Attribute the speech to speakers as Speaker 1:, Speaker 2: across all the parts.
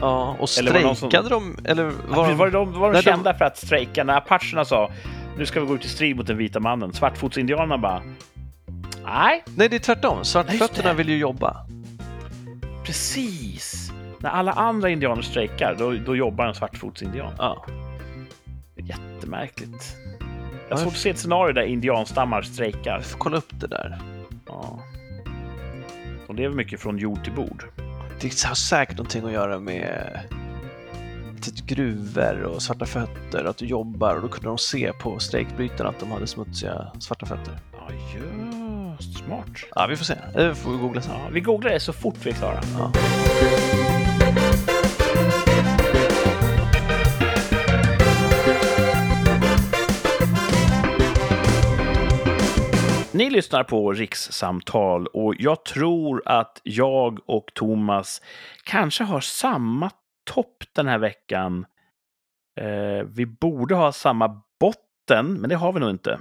Speaker 1: Ja, och
Speaker 2: Eller var det någon
Speaker 1: strejkade de? Eller
Speaker 2: Var,
Speaker 1: var
Speaker 2: precis, var, de, var de
Speaker 1: Nej, de-
Speaker 2: kända för att strejka? När apacherna sa nu ska vi gå ut i strid mot den vita mannen, svartfotsindianerna bara nej,
Speaker 1: Nej, det är tvärtom.
Speaker 2: just det.
Speaker 1: Svartfötterna vill ju jobba.
Speaker 2: precis. När alla andra indianer strejkar, då, då jobbar en svartfotsindian.
Speaker 1: Ja.
Speaker 2: Jättemärkligt. Jag
Speaker 1: Varför?
Speaker 2: har svårt att se ett scenario där indianstammar strejkar.
Speaker 1: Jag får kolla upp det där.
Speaker 2: Ja. De lever mycket från jord till bord.
Speaker 1: Det har säkert någonting att göra med typ gruvor och svarta fötter, att du jobbar och då kunde de se på strejkbrytarna att de hade smutsiga svarta fötter.
Speaker 2: Ja, just smart.
Speaker 1: Ja, vi får se. Det får vi googla sen.
Speaker 2: Ja, vi googlar det så fort vi är klara.
Speaker 1: Ja.
Speaker 2: Ni lyssnar på rikssamtal och jag tror att jag och Thomas kanske har samma topp den här veckan. Eh, vi borde ha samma botten, men det har vi nog inte.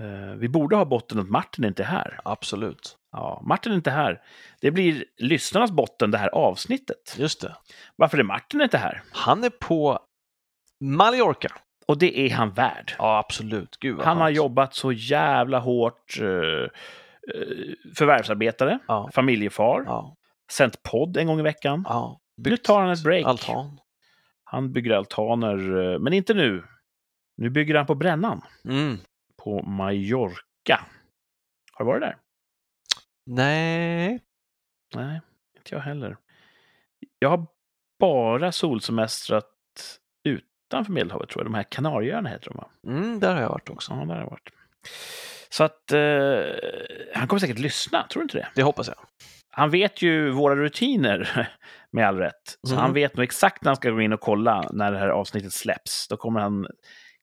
Speaker 2: Eh, vi borde ha botten att Martin inte är här.
Speaker 1: Absolut.
Speaker 2: Ja, Martin är inte här. Det blir lyssnarnas botten det här avsnittet.
Speaker 1: Just det.
Speaker 2: Varför är Martin inte här?
Speaker 1: Han är på Mallorca.
Speaker 2: Och det är han värd.
Speaker 1: Ja, absolut. Gud vad
Speaker 2: Han har
Speaker 1: skönt.
Speaker 2: jobbat så jävla hårt. Eh, eh, förvärvsarbetare,
Speaker 1: Ja.
Speaker 2: familjefar,
Speaker 1: Ja.
Speaker 2: sänt podd en gång i veckan.
Speaker 1: ja.
Speaker 2: Nu tar han ett break.
Speaker 1: altan.
Speaker 2: Han bygger altaner, eh, men inte nu. Nu bygger han på brännan
Speaker 1: Mm.
Speaker 2: på Mallorca. Har du varit där?
Speaker 1: Nej.
Speaker 2: Nej, inte jag heller. Jag har bara solsemestrat utanför Medelhavet, tror jag. De här Kanarieöarna heter de, va?
Speaker 1: Mm, där har jag varit också.
Speaker 2: Ja, där har jag varit. Så att eh, han kommer säkert lyssna, tror du inte det?
Speaker 1: Det hoppas jag.
Speaker 2: Han vet ju våra rutiner, med all rätt. Så
Speaker 1: Mm.
Speaker 2: han vet nog exakt när han ska gå in och kolla när det här avsnittet släpps. Då kommer han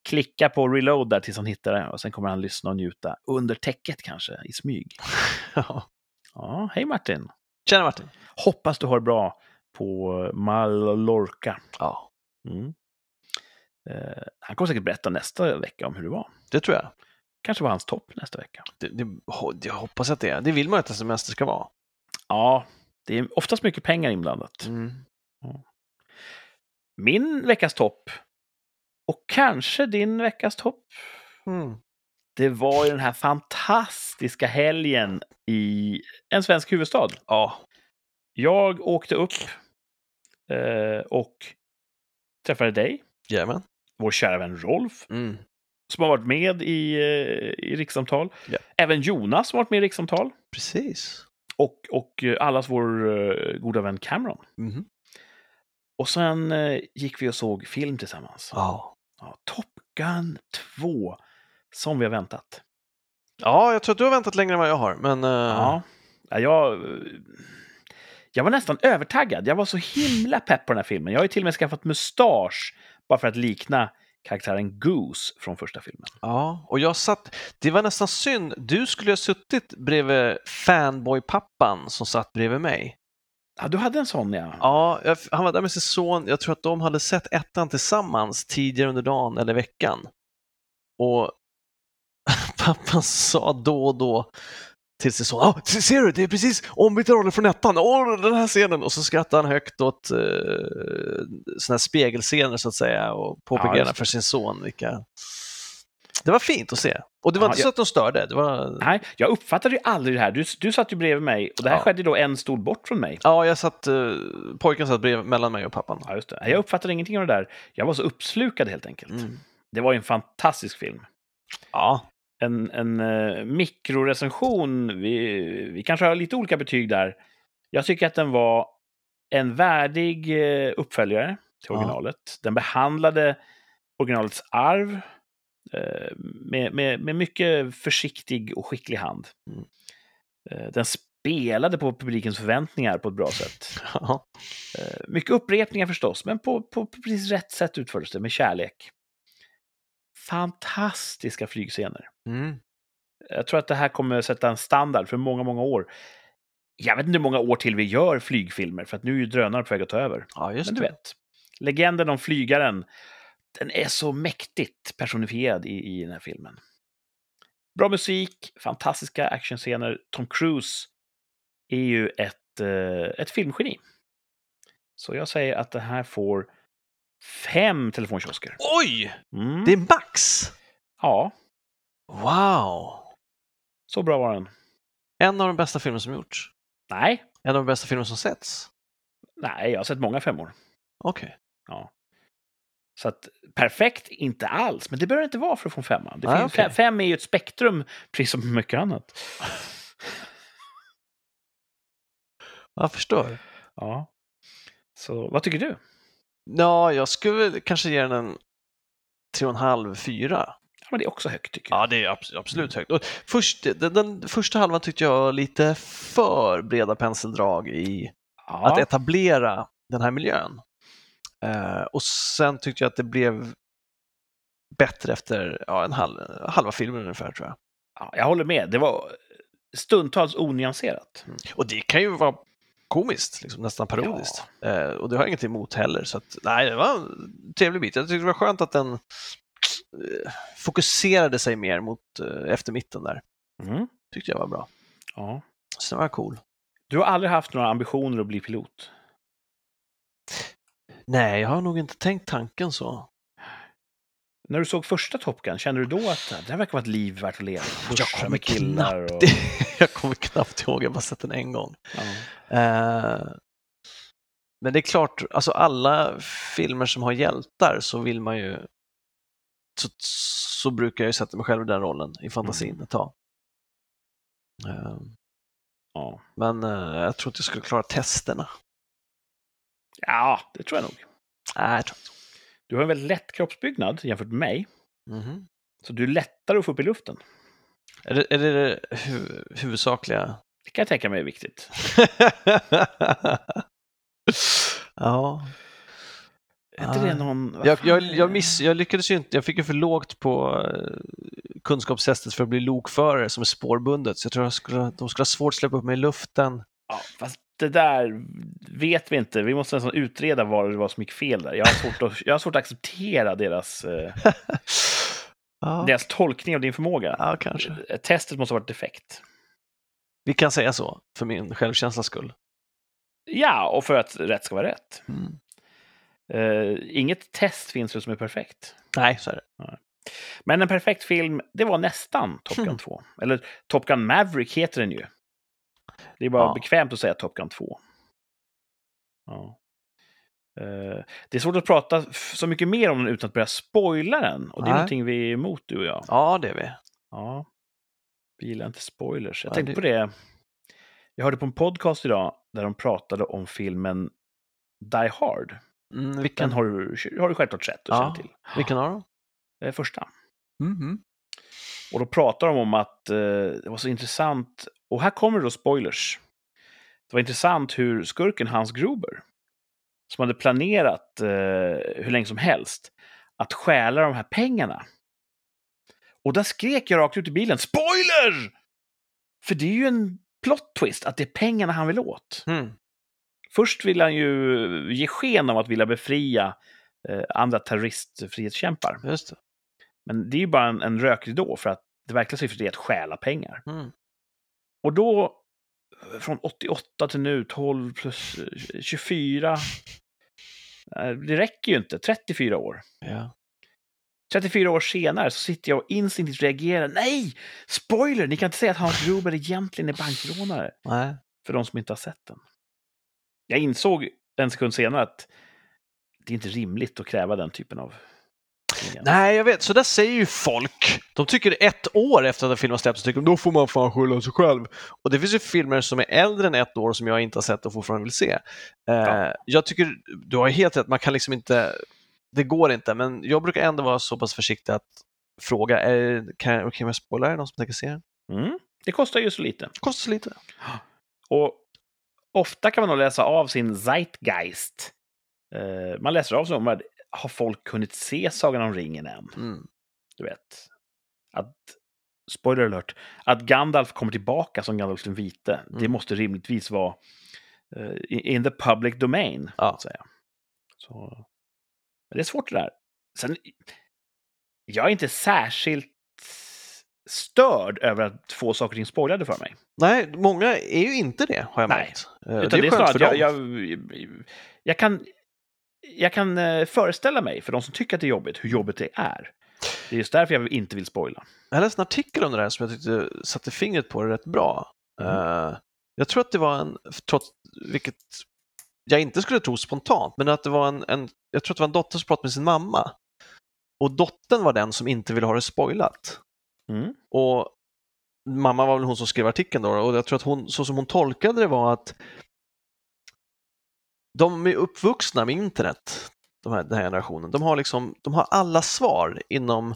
Speaker 2: klicka på reload där tills han hittar det och sen kommer han lyssna och njuta under täcket kanske, i smyg.
Speaker 1: Ja.
Speaker 2: Ja, hej Martin!
Speaker 1: Tjena Martin.
Speaker 2: Hoppas du har det bra på Mallorca.
Speaker 1: Ja,
Speaker 2: Mm. Eh, han kommer säkert berätta nästa vecka om hur det var.
Speaker 1: det tror jag.
Speaker 2: Kanske var hans topp nästa vecka.
Speaker 1: Det, det, ho- jag hoppas att det är. Det vill man ju att en semester ska vara.
Speaker 2: Ja, det är oftast mycket pengar inblandat.
Speaker 1: Mm.
Speaker 2: Min veckas topp, och kanske din veckas topp,
Speaker 1: Mm.
Speaker 2: Det var ju den här fantastiska helgen i en svensk huvudstad.
Speaker 1: Ja,
Speaker 2: Jag åkte upp eh, och träffade dig,
Speaker 1: jajamän.
Speaker 2: vår kära vän Rolf,
Speaker 1: Mm.
Speaker 2: som har varit med i, eh, i rikssamtal.
Speaker 1: Ja.
Speaker 2: Även Jonas som har varit med i rikssamtal.
Speaker 1: Precis.
Speaker 2: Och, och eh, allas vår eh, goda vän Cameron.
Speaker 1: Mhm.
Speaker 2: Och sen eh, gick vi och såg film tillsammans.
Speaker 1: Ja.
Speaker 2: Ja, Top Gun 2, som vi har väntat.
Speaker 1: ja, jag tror att du har väntat längre än vad jag har. Men, eh,
Speaker 2: Ja. Ja, jag, jag var nästan övertaggad. Jag var så himla pepp på den här filmen. Jag har ju till och med skaffat mustasch bara för att likna karaktären Goose från första filmen.
Speaker 1: ja. Och jag satt, det var nästan synd. Du skulle ju ha suttit bredvid fanboy-pappan som satt bredvid mig.
Speaker 2: Ja, du hade en sån, ja.
Speaker 1: Ja, jag, han var där med sin son. Jag tror att de hade sett ettan tillsammans tidigare under dagen eller veckan. Och pappan sa då och då till sin son, ah, se- ser du, det är precis ombytta roller från ettan, åh, den här scenen! Och så skrattade han högt åt eh, såna här spegelscener så att säga och
Speaker 2: Ja,
Speaker 1: påpekade
Speaker 2: just det.
Speaker 1: för sin son vilka... Det var fint att se. Och det var
Speaker 2: Ja,
Speaker 1: inte
Speaker 2: jag-
Speaker 1: så att de störde, det var...
Speaker 2: Nej, jag uppfattade ju aldrig det här. Du, du satt ju bredvid mig och det här
Speaker 1: Ja.
Speaker 2: skedde då en stol bort från mig.
Speaker 1: Ja, jag satt, eh, pojken satt bredvid, mellan mig och pappan.
Speaker 2: Ja, just det. Jag uppfattade ingenting av det där. Jag var så uppslukad helt enkelt.
Speaker 1: Mm.
Speaker 2: Det var ju en fantastisk film.
Speaker 1: Ja,
Speaker 2: en, en eh, mikrorecension. Vi, vi kanske har lite olika betyg där. Jag tycker att den var en värdig eh, uppföljare till
Speaker 1: Ja.
Speaker 2: originalet. Den behandlade originalets arv eh, med, med, med mycket försiktig och skicklig hand.
Speaker 1: Mm.
Speaker 2: Eh, Den spelade på publikens förväntningar på ett bra sätt.
Speaker 1: ja.
Speaker 2: Eh, Mycket upprepningar förstås, men på, på precis rätt sätt utfördes det med kärlek. Fantastiska flygscener.
Speaker 1: Mm.
Speaker 2: Jag tror att det här kommer sätta en standard för många, många år. Jag vet inte hur många år till vi gör flygfilmer, för att nu är ju drönare på väg att ta över.
Speaker 1: ja just
Speaker 2: Men du
Speaker 1: det.
Speaker 2: vet, legenden om flygaren, den är så mäktigt personifierad i, i den här filmen. Bra musik, fantastiska actionscener. Tom Cruise är ju ett, eh, ett filmgeni. Så jag säger att det här får fem telefonkiosker.
Speaker 1: Oj!
Speaker 2: Mm.
Speaker 1: Det är max!
Speaker 2: Ja,
Speaker 1: Wow!
Speaker 2: så bra var den.
Speaker 1: En av de bästa filmer som gjorts.
Speaker 2: Nej,
Speaker 1: En av de bästa filmer som setts.
Speaker 2: nej, jag har sett många femmor.
Speaker 1: Okej.
Speaker 2: Så att, perfekt, inte alls. Men det behöver det inte vara för att få en femma. Det
Speaker 1: Nej,
Speaker 2: finns,
Speaker 1: Ah, okej.
Speaker 2: fe- Fem är ju ett spektrum, precis som mycket annat.
Speaker 1: Jag förstår.
Speaker 2: Ja. Så vad tycker du?
Speaker 1: Ja, jag skulle väl kanske ge den en 3,5, 4.
Speaker 2: Ja, men det är också högt tycker jag.
Speaker 1: Ja, det är abs- absolut högt. Och först, den, den första halvan tyckte jag var lite för breda penseldrag i att
Speaker 2: Ja,
Speaker 1: etablera den här miljön. Eh, och sen tyckte jag att det blev bättre efter ja, en halv, halva filmen ungefär tror jag.
Speaker 2: ja, jag håller med. Det var stundtals onyanserat.
Speaker 1: Och det kan ju vara komiskt, liksom, nästan parodiskt. Eh, och det har jag inget emot heller. Så att, nej, det var en trevlig bit. Jag tyckte det var skönt att den eh, fokuserade sig mer mot eh, efter mitten där.
Speaker 2: Mm.
Speaker 1: tyckte jag var bra.
Speaker 2: Ja.
Speaker 1: Så den var cool.
Speaker 2: Du har aldrig haft några ambitioner att bli pilot?
Speaker 1: Nej, jag har nog inte tänkt tanken så.
Speaker 2: När du såg första Top Gun, kände du då att det här verkar vara ett liv värt att leva? Duscha
Speaker 1: kommer
Speaker 2: med killar och...
Speaker 1: jag kommer knappt ihåg, jag har bara sett den en gång.
Speaker 2: Ja.
Speaker 1: Eh, men det är klart, alltså alla filmer som har hjältar så vill man ju så, så brukar jag ju sätta mig själv i den rollen i fantasin
Speaker 2: Mm.
Speaker 1: ett tag. Eh,
Speaker 2: Ja.
Speaker 1: Men eh, jag tror inte jag skulle klara testerna.
Speaker 2: ja, det tror jag nog.
Speaker 1: Nej, jag tror inte.
Speaker 2: Du har en väldigt lätt kroppsbyggnad jämfört med mig,
Speaker 1: Mhm.
Speaker 2: så du är lättare att få upp i luften.
Speaker 1: Är det är det, det hu- huvudsakliga?
Speaker 2: Det kan jag tänka mig är viktigt.
Speaker 1: ja.
Speaker 2: Är inte
Speaker 1: Ah.
Speaker 2: det någon... vad
Speaker 1: Jag,
Speaker 2: fan
Speaker 1: jag,
Speaker 2: är det?
Speaker 1: jag, miss, jag lyckades ju inte, jag fick ju för lågt på eh, kunskapstestet för att bli lokförare som är spårbundet, så jag tror jag skulle, de skulle ha svårt att släppa upp mig i luften.
Speaker 2: Ja, fast det där vet vi inte. Vi måste nästan utreda vad det var som gick fel där. Jag har svårt att, jag har svårt att acceptera deras, eh,
Speaker 1: ja,
Speaker 2: deras tolkning av din förmåga.
Speaker 1: ja, kanske.
Speaker 2: Testet måste ha varit defekt.
Speaker 1: Vi kan säga så, för min självkänslas skull.
Speaker 2: Ja, och för att rätt ska vara rätt.
Speaker 1: Mm.
Speaker 2: Eh, inget test finns väl som är perfekt.
Speaker 1: Nej, så är det.
Speaker 2: Men en perfekt film, det var nästan Top Gun
Speaker 1: Hmm.
Speaker 2: 2. Eller Top Gun Maverick heter den ju. Det är bara
Speaker 1: Ja.
Speaker 2: bekvämt att säga Top Gun 2. Ja. Eh, det är svårt att prata f- så mycket mer om den utan att börja spoila den. Och det är
Speaker 1: Nej.
Speaker 2: någonting vi är emot, du och jag.
Speaker 1: Ja, det är vi.
Speaker 2: Ja. Vi gillar inte spoilers. Jag
Speaker 1: Nej,
Speaker 2: tänkte
Speaker 1: det-
Speaker 2: på det. Jag hörde på en podcast idag där de pratade om filmen Die Hard.
Speaker 1: Mm,
Speaker 2: Den
Speaker 1: vilken,
Speaker 2: har du, har du självklart sett och
Speaker 1: Ja.
Speaker 2: känner till.
Speaker 1: vilken av dem?
Speaker 2: Det är första.
Speaker 1: Mhm.
Speaker 2: Och då pratar de om att eh, det var så intressant, och här kommer då spoilers. Det var intressant hur skurken Hans Gruber, som hade planerat eh, hur länge som helst, att stjäla de här pengarna. Och där skrek jag rakt ut i bilen, spoiler! För det är ju en plot twist, att det är pengarna han vill åt.
Speaker 1: Mm.
Speaker 2: Först vill han ju ge sken av att vilja befria eh, andra terroristfrihetskämpar.
Speaker 1: Just det.
Speaker 2: Men det är ju bara en, en rökridå för att det verkliga syftet är att stjäla pengar.
Speaker 1: Mm.
Speaker 2: Och då, eh, från 88 till nu, 12 plus eh, 24. eh, Det räcker ju inte, 34 år.
Speaker 1: Ja.
Speaker 2: 34 år senare så sitter jag och instinktivt reagerar. Nej! Spoiler! Ni kan inte säga att Hans Gruber egentligen är bankrånare.
Speaker 1: Nej.
Speaker 2: För de som inte har sett den. Jag insåg en sekund senare att det är inte rimligt att kräva den typen av... ingen.
Speaker 1: Nej, jag vet. Så där säger ju folk. De tycker ett år efter att en film har släppts, så tycker de då får man fan skylla sig själv. Och det finns ju filmer som är äldre än ett år som jag inte har sett och fortfarande vill se. Eh,
Speaker 2: Ja.
Speaker 1: Jag tycker, du har helt rätt, man kan liksom inte, det går inte, men jag brukar ändå vara så pass försiktig att fråga, är, kan, jag- okej, om jag spoilar, är det någon som tänker se den?
Speaker 2: Mm. Det kostar ju så lite.
Speaker 1: Kostar så lite.
Speaker 2: Och ofta kan man nog läsa av sin zeitgeist. Eh, man läser av sig om vad- har folk hunnit se Sagan om ringen än?
Speaker 1: Mm.
Speaker 2: Du vet. Att, spoiler alert, att Gandalf kommer tillbaka som Gandalf den vite, det
Speaker 1: Mm.
Speaker 2: måste rimligtvis vara eh, in the public domain.
Speaker 1: Ja.
Speaker 2: Så att säga. Så, men det är svårt det där. Sen, jag är inte särskilt störd över att få saker och ting spoilade för mig.
Speaker 1: Nej, många är ju inte det har jag
Speaker 2: Nej.
Speaker 1: märkt. Eh, Det
Speaker 2: Utan
Speaker 1: är,
Speaker 2: det är
Speaker 1: skönt för
Speaker 2: snarare
Speaker 1: dem.
Speaker 2: att jag, jag, jag kan, jag kan eh, föreställa mig, för de som tycker att det är jobbigt, hur jobbigt det är. Det är just därför jag inte vill spoila.
Speaker 1: Jag läste en artikel om det här som jag tyckte satte fingret på det rätt bra. Eh, jag tror att det var en, trots, vilket jag inte skulle tro spontant, men att det var en, en, jag tror att det var en dotter som pratade med sin mamma. Och dottern var den som inte ville ha det spoilat.
Speaker 2: Mm.
Speaker 1: Och mamma var väl hon som skrev artikeln då och jag tror att hon, så som hon tolkade det var att de är uppvuxna med internet, de här, den här generationen. De har, liksom, de har alla svar inom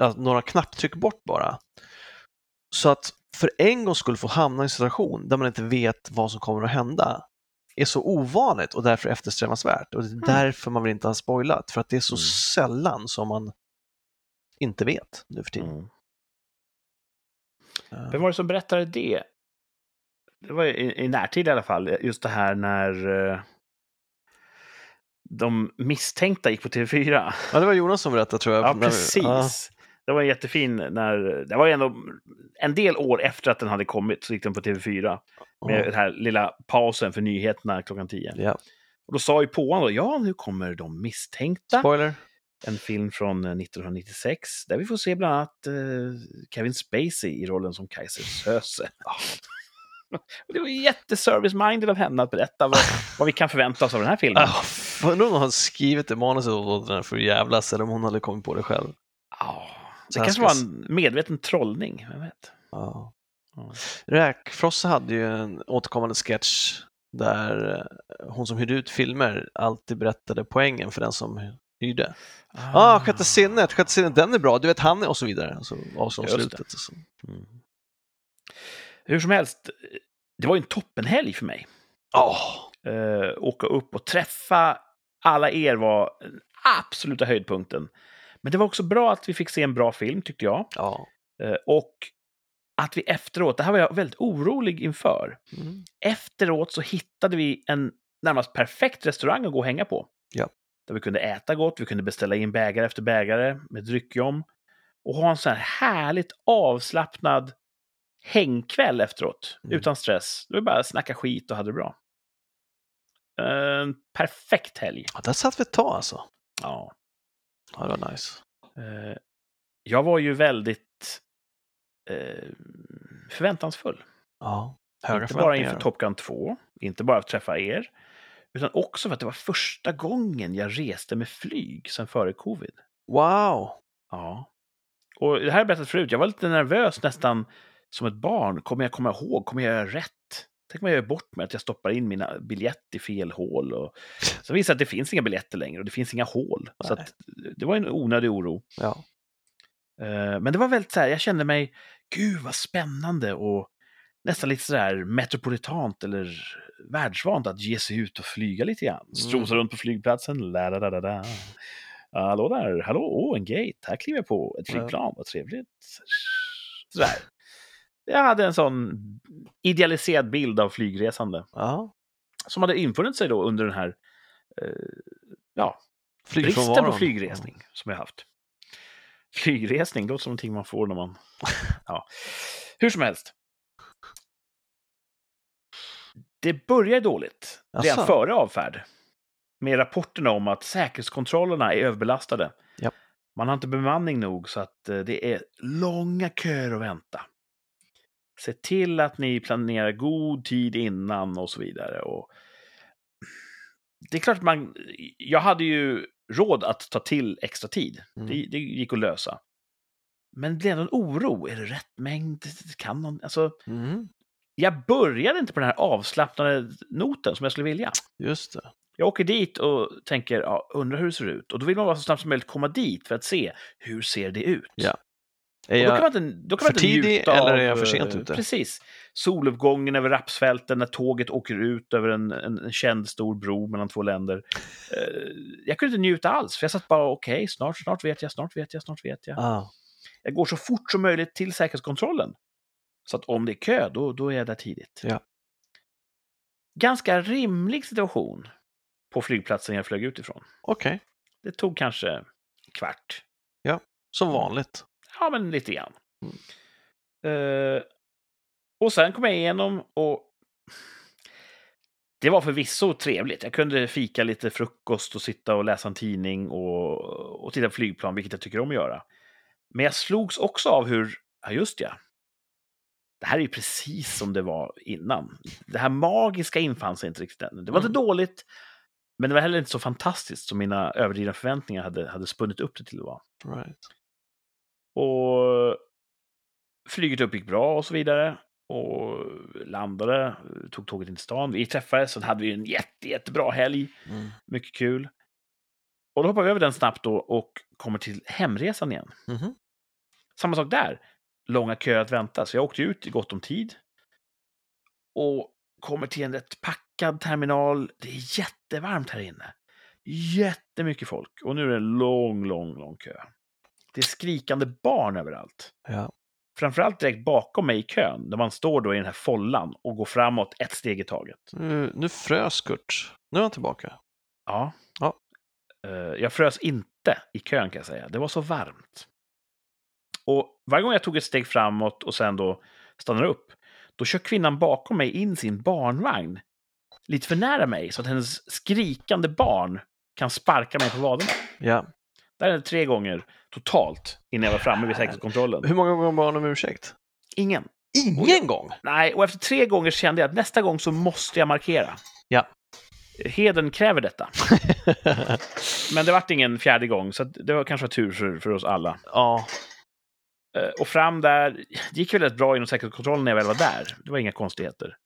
Speaker 1: ja, några knapptryck bort bara. Så att för en gång skulle få hamna i en situation där man inte vet vad som kommer att hända är så ovanligt och därför eftersträvansvärt. Och det är därför man vill inte ha spoilat, för att det är så
Speaker 2: Mm.
Speaker 1: sällan som man inte vet nu för tiden.
Speaker 2: Mm.
Speaker 1: Eh.
Speaker 2: Vem var det som berättade det? Det var i, i närtid i alla fall, just det här när eh, de misstänkta gick på TV4.
Speaker 1: Ja, det var Jonas som berättade tror jag.
Speaker 2: Ja,
Speaker 1: När vi-
Speaker 2: precis.
Speaker 1: Ja.
Speaker 2: Det var jättefin när... Det var ändå en del år efter att den hade kommit så gick den på TV4 med den här lilla pausen för nyheterna klockan 10.
Speaker 1: Ja.
Speaker 2: Och då sa ju påan då, ja, nu kommer de misstänkta.
Speaker 1: Spoiler.
Speaker 2: En film från eh, 1996 där vi får se bland annat eh, Kevin Spacey i rollen som Kaiser Söze.
Speaker 1: Ah.
Speaker 2: Och det var ju jätteservice-minded av henne att berätta vad, vad vi kan förvänta oss av den här filmen.
Speaker 1: Ah, fan, Undrar om hon hade skrivit det manuset åt åldern för att jävlas eller om hon hade kommit på det själv.
Speaker 2: Ja,
Speaker 1: Så Ah.
Speaker 2: Ah. det
Speaker 1: här
Speaker 2: kanske
Speaker 1: ska
Speaker 2: var
Speaker 1: s-
Speaker 2: en medveten trollning, vem vet?
Speaker 1: Ja.
Speaker 2: Ja.
Speaker 1: Räkfrossa hade ju en återkommande sketch där eh, hon som hyrde ut filmer alltid berättade poängen för den som hyrde. Ja, ah, sjätte sinnet, sjätte sinnet, den är bra, du vet han är och så vidare. Och Så avslår de
Speaker 2: Just det.
Speaker 1: slutet. och Så.
Speaker 2: Mm. Hur som helst, eh, det var ju en toppenhelg för mig.
Speaker 1: Oh,
Speaker 2: Eh, åka upp och träffa alla er var den absoluta höjdpunkten. Men det var också bra att vi fick se en bra film, tyckte jag.
Speaker 1: ja.
Speaker 2: Eh, och att vi efteråt, det här var jag väldigt orolig inför,
Speaker 1: Mm.
Speaker 2: efteråt så hittade vi en närmast perfekt restaurang att gå och hänga på.
Speaker 1: Ja.
Speaker 2: Där vi kunde äta gott, vi kunde beställa in bägare efter bägare med dryckjom. Och ha en sån här härligt avslappnad hängkväll efteråt,
Speaker 1: Mm.
Speaker 2: utan stress. Det var bara att snacka skit och hade det bra. En perfekt helg.
Speaker 1: Ja, där satt vi ett tag alltså.
Speaker 2: Ja.
Speaker 1: Ja, det var nice.
Speaker 2: Eh, Jag var ju väldigt eh, förväntansfull.
Speaker 1: Ja. Höga
Speaker 2: Inte bara
Speaker 1: förväntningar.
Speaker 2: inför Top Gun 2, inte bara för att träffa er, utan också för att det var första gången jag reste med flyg sen före covid.
Speaker 1: Wow!
Speaker 2: Ja. Och det här har jag berättat förut, jag var lite nervös nästan som ett barn. Kommer jag komma ihåg? Kommer jag göra rätt? Tänk om jag gör bort mig, att jag stoppar in mina biljett i fel hål. Och... Sen visar det att det finns inga biljetter längre och det finns inga hål. Så
Speaker 1: Nej.
Speaker 2: att, det var en onödig oro.
Speaker 1: Ja.
Speaker 2: Eh, Men det var väldigt så här, jag kände mig, gud vad spännande och nästan lite så här metropolitant eller världsvant att ge sig ut och flyga lite grann.
Speaker 1: Mm.
Speaker 2: Strosa runt på flygplatsen, la da da da da. Hallå där, hallå, åh en gate, här kliver jag på ett
Speaker 1: Ja.
Speaker 2: flygplan, vad trevligt. Sådär. Jag hade en sån idealiserad bild av flygresande
Speaker 1: ja.
Speaker 2: som hade infunnit sig då under den här eh, ja, Bristen
Speaker 1: Flygfrånvaron.
Speaker 2: på flygresning som jag haft. Flygresning låter som någonting man får när man... ja. Hur som helst. Det börjar dåligt redan
Speaker 1: Jaså?
Speaker 2: före avfärd. Med rapporterna om att säkerhetskontrollerna är överbelastade.
Speaker 1: Japp.
Speaker 2: Man har inte bemanning nog så att eh, det är långa köer att vänta. Se till att ni planerar god tid innan och så vidare. Och det är klart att man... Jag hade ju råd att ta till extra tid.
Speaker 1: Mm.
Speaker 2: Det, det gick att lösa. Men det blev ändå en oro. Är det rätt mängd? Kan någon... Alltså,
Speaker 1: Mm,
Speaker 2: jag började inte på den här avslappnade noten som jag skulle vilja.
Speaker 1: just det.
Speaker 2: Jag åker dit och tänker, ja, undrar hur det ser ut. Och då vill man vara så snabbt som möjligt komma dit för att se, hur ser det ut?
Speaker 1: Ja. Är
Speaker 2: Och då
Speaker 1: jag,
Speaker 2: kan man inte, då kan man
Speaker 1: för
Speaker 2: inte
Speaker 1: tidig
Speaker 2: njuta
Speaker 1: eller
Speaker 2: av,
Speaker 1: är jag för sent
Speaker 2: eh,
Speaker 1: ute?
Speaker 2: Precis. Soluppgången över rapsfälten när tåget åker ut över en, en, en känd stor bro mellan två länder. Eh, Jag kunde inte njuta alls, för jag satt bara, okej, snart, snart vet jag, snart vet jag, snart vet jag.
Speaker 1: ah,
Speaker 2: Jag går så fort som möjligt till säkerhetskontrollen. Så att om det är kö, då, då är jag där tidigt.
Speaker 1: Ja.
Speaker 2: Ganska rimlig situation på flygplatsen jag flög utifrån.
Speaker 1: Okej,
Speaker 2: Det tog kanske kvart.
Speaker 1: som vanligt.
Speaker 2: Mm. Ja, men lite grann. Eh, och sen kom jag igenom och det var förvisso trevligt. Jag kunde fika lite frukost och sitta och läsa en tidning och, och titta på flygplan, vilket jag tycker om att göra. Men jag slogs också av hur, ja just ja, det här är ju precis som det var innan. Det här magiska infann sig inte riktigt än. Det var inte dåligt, men det var heller inte så fantastiskt som mina överdrivna förväntningar hade, hade spunnit upp det till att vara.
Speaker 1: Right.
Speaker 2: Och flyget upp gick bra och så vidare. Och landade, tog tåget in till stan. Vi träffades, sen hade vi en jätte, jättebra helg.
Speaker 1: Mm.
Speaker 2: Mycket kul. Och då hoppar vi över den snabbt då och kommer till hemresan igen.
Speaker 1: Mhm.
Speaker 2: Samma sak där. Långa köer att vänta, så jag åkte ut i gott om tid. Och kommer till en rätt packad terminal. Det är jättevarmt här inne. Jättemycket folk. Och nu är det en lång, lång, lång kö. Det är skrikande barn överallt.
Speaker 1: Ja.
Speaker 2: Framförallt direkt bakom mig i kön, där man står då i den här follan och går framåt ett steg i taget.
Speaker 1: Nu, nu frös Kurt. Nu är han tillbaka.
Speaker 2: Ja.
Speaker 1: Ja.
Speaker 2: Eh, Jag frös inte i kön kan jag säga. Det var så varmt. Och varje gång jag tog ett steg framåt och sen då stannade upp, då kör kvinnan bakom mig in sin barnvagn lite för nära mig så att hennes skrikande barn kan sparka mig på vaderna.
Speaker 1: Ja.
Speaker 2: Det här hände tre gånger totalt innan jag var framme vid säkerhetskontrollen.
Speaker 1: Hur många gånger bad han om ursäkt?
Speaker 2: Ingen.
Speaker 1: Ingen gång!
Speaker 2: Nej, och efter tre gånger kände jag att nästa gång så måste jag markera.
Speaker 1: Ja.
Speaker 2: Heden kräver detta. Men det vart ingen fjärde gång, så att det var kanske var tur för, för oss alla.
Speaker 1: ja.
Speaker 2: Eh, Och fram där, det gick väl rätt bra inom säkerhetskontrollen när jag väl var där. Det var inga konstigheter.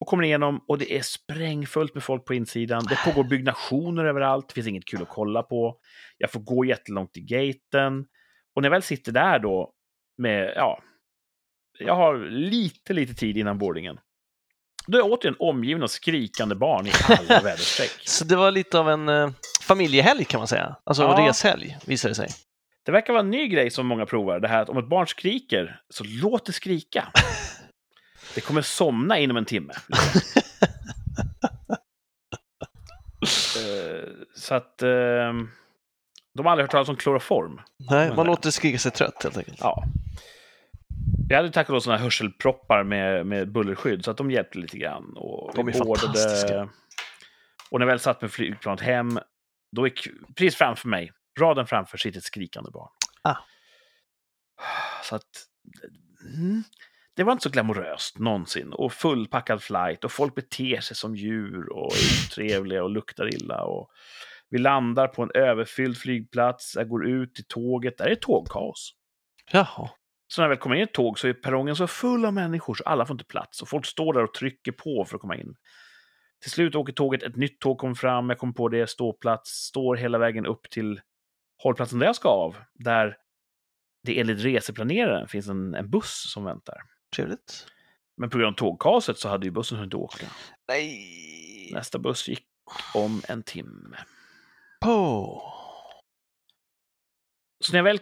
Speaker 2: Och kommer igenom och det är sprängfullt med folk på insidan. Det pågår byggnationer överallt, det finns inget kul att kolla på. Jag får gå jättelångt till gaten. Och när jag väl sitter där då med, ja, jag har lite, lite tid innan boardingen. Då är jag återigen omgiven av skrikande barn i alla väderstreck.
Speaker 1: Så det var lite av en eh, familjehelg kan man säga. Alltså
Speaker 2: Ja.
Speaker 1: reshelg visade det sig.
Speaker 2: Det verkar vara en ny grej som många provar, det här att om ett barn skriker, så låt det skrika. Det kommer somna inom en timme. liksom. Eh, så att... eh, de har aldrig hört talas om kloroform.
Speaker 1: Nej, man
Speaker 2: Men-
Speaker 1: låter det skrika sig trött helt enkelt.
Speaker 2: Ja. Jag hade tack och lov såna här hörselproppar med, med bullerskydd, så att de hjälpte lite grann. Och
Speaker 1: De
Speaker 2: vi
Speaker 1: är
Speaker 2: boardade.
Speaker 1: fantastiska.
Speaker 2: Och när jag väl satt med flygplanet hem, då gick precis framför mig, raden framför, sitter ett skrikande barn.
Speaker 1: Ah.
Speaker 2: Så att... Mm, det var inte så glamoröst någonsin. Och fullpackad flight och folk beter sig som djur och är otrevliga och luktar illa. Och vi landar på en överfylld flygplats. Jag går ut till tåget. Där är tågkaos.
Speaker 1: Jaha.
Speaker 2: Så när jag väl kommer in i ett tåg så är perrongen så full av människor så alla får inte plats. Och folk står där och trycker på för att komma in. Till slut åker tåget, ett nytt tåg kommer fram, jag kommer på det, ståplats, står hela vägen upp till hållplatsen där jag ska av. Där det enligt reseplaneraren finns en, en buss som väntar.
Speaker 1: Trevligt.
Speaker 2: Men på grund av tågkaoset så hade ju bussen hunnit åka.
Speaker 1: Nej.
Speaker 2: Nästa buss gick om en timme.
Speaker 1: På.
Speaker 2: Så när jag väl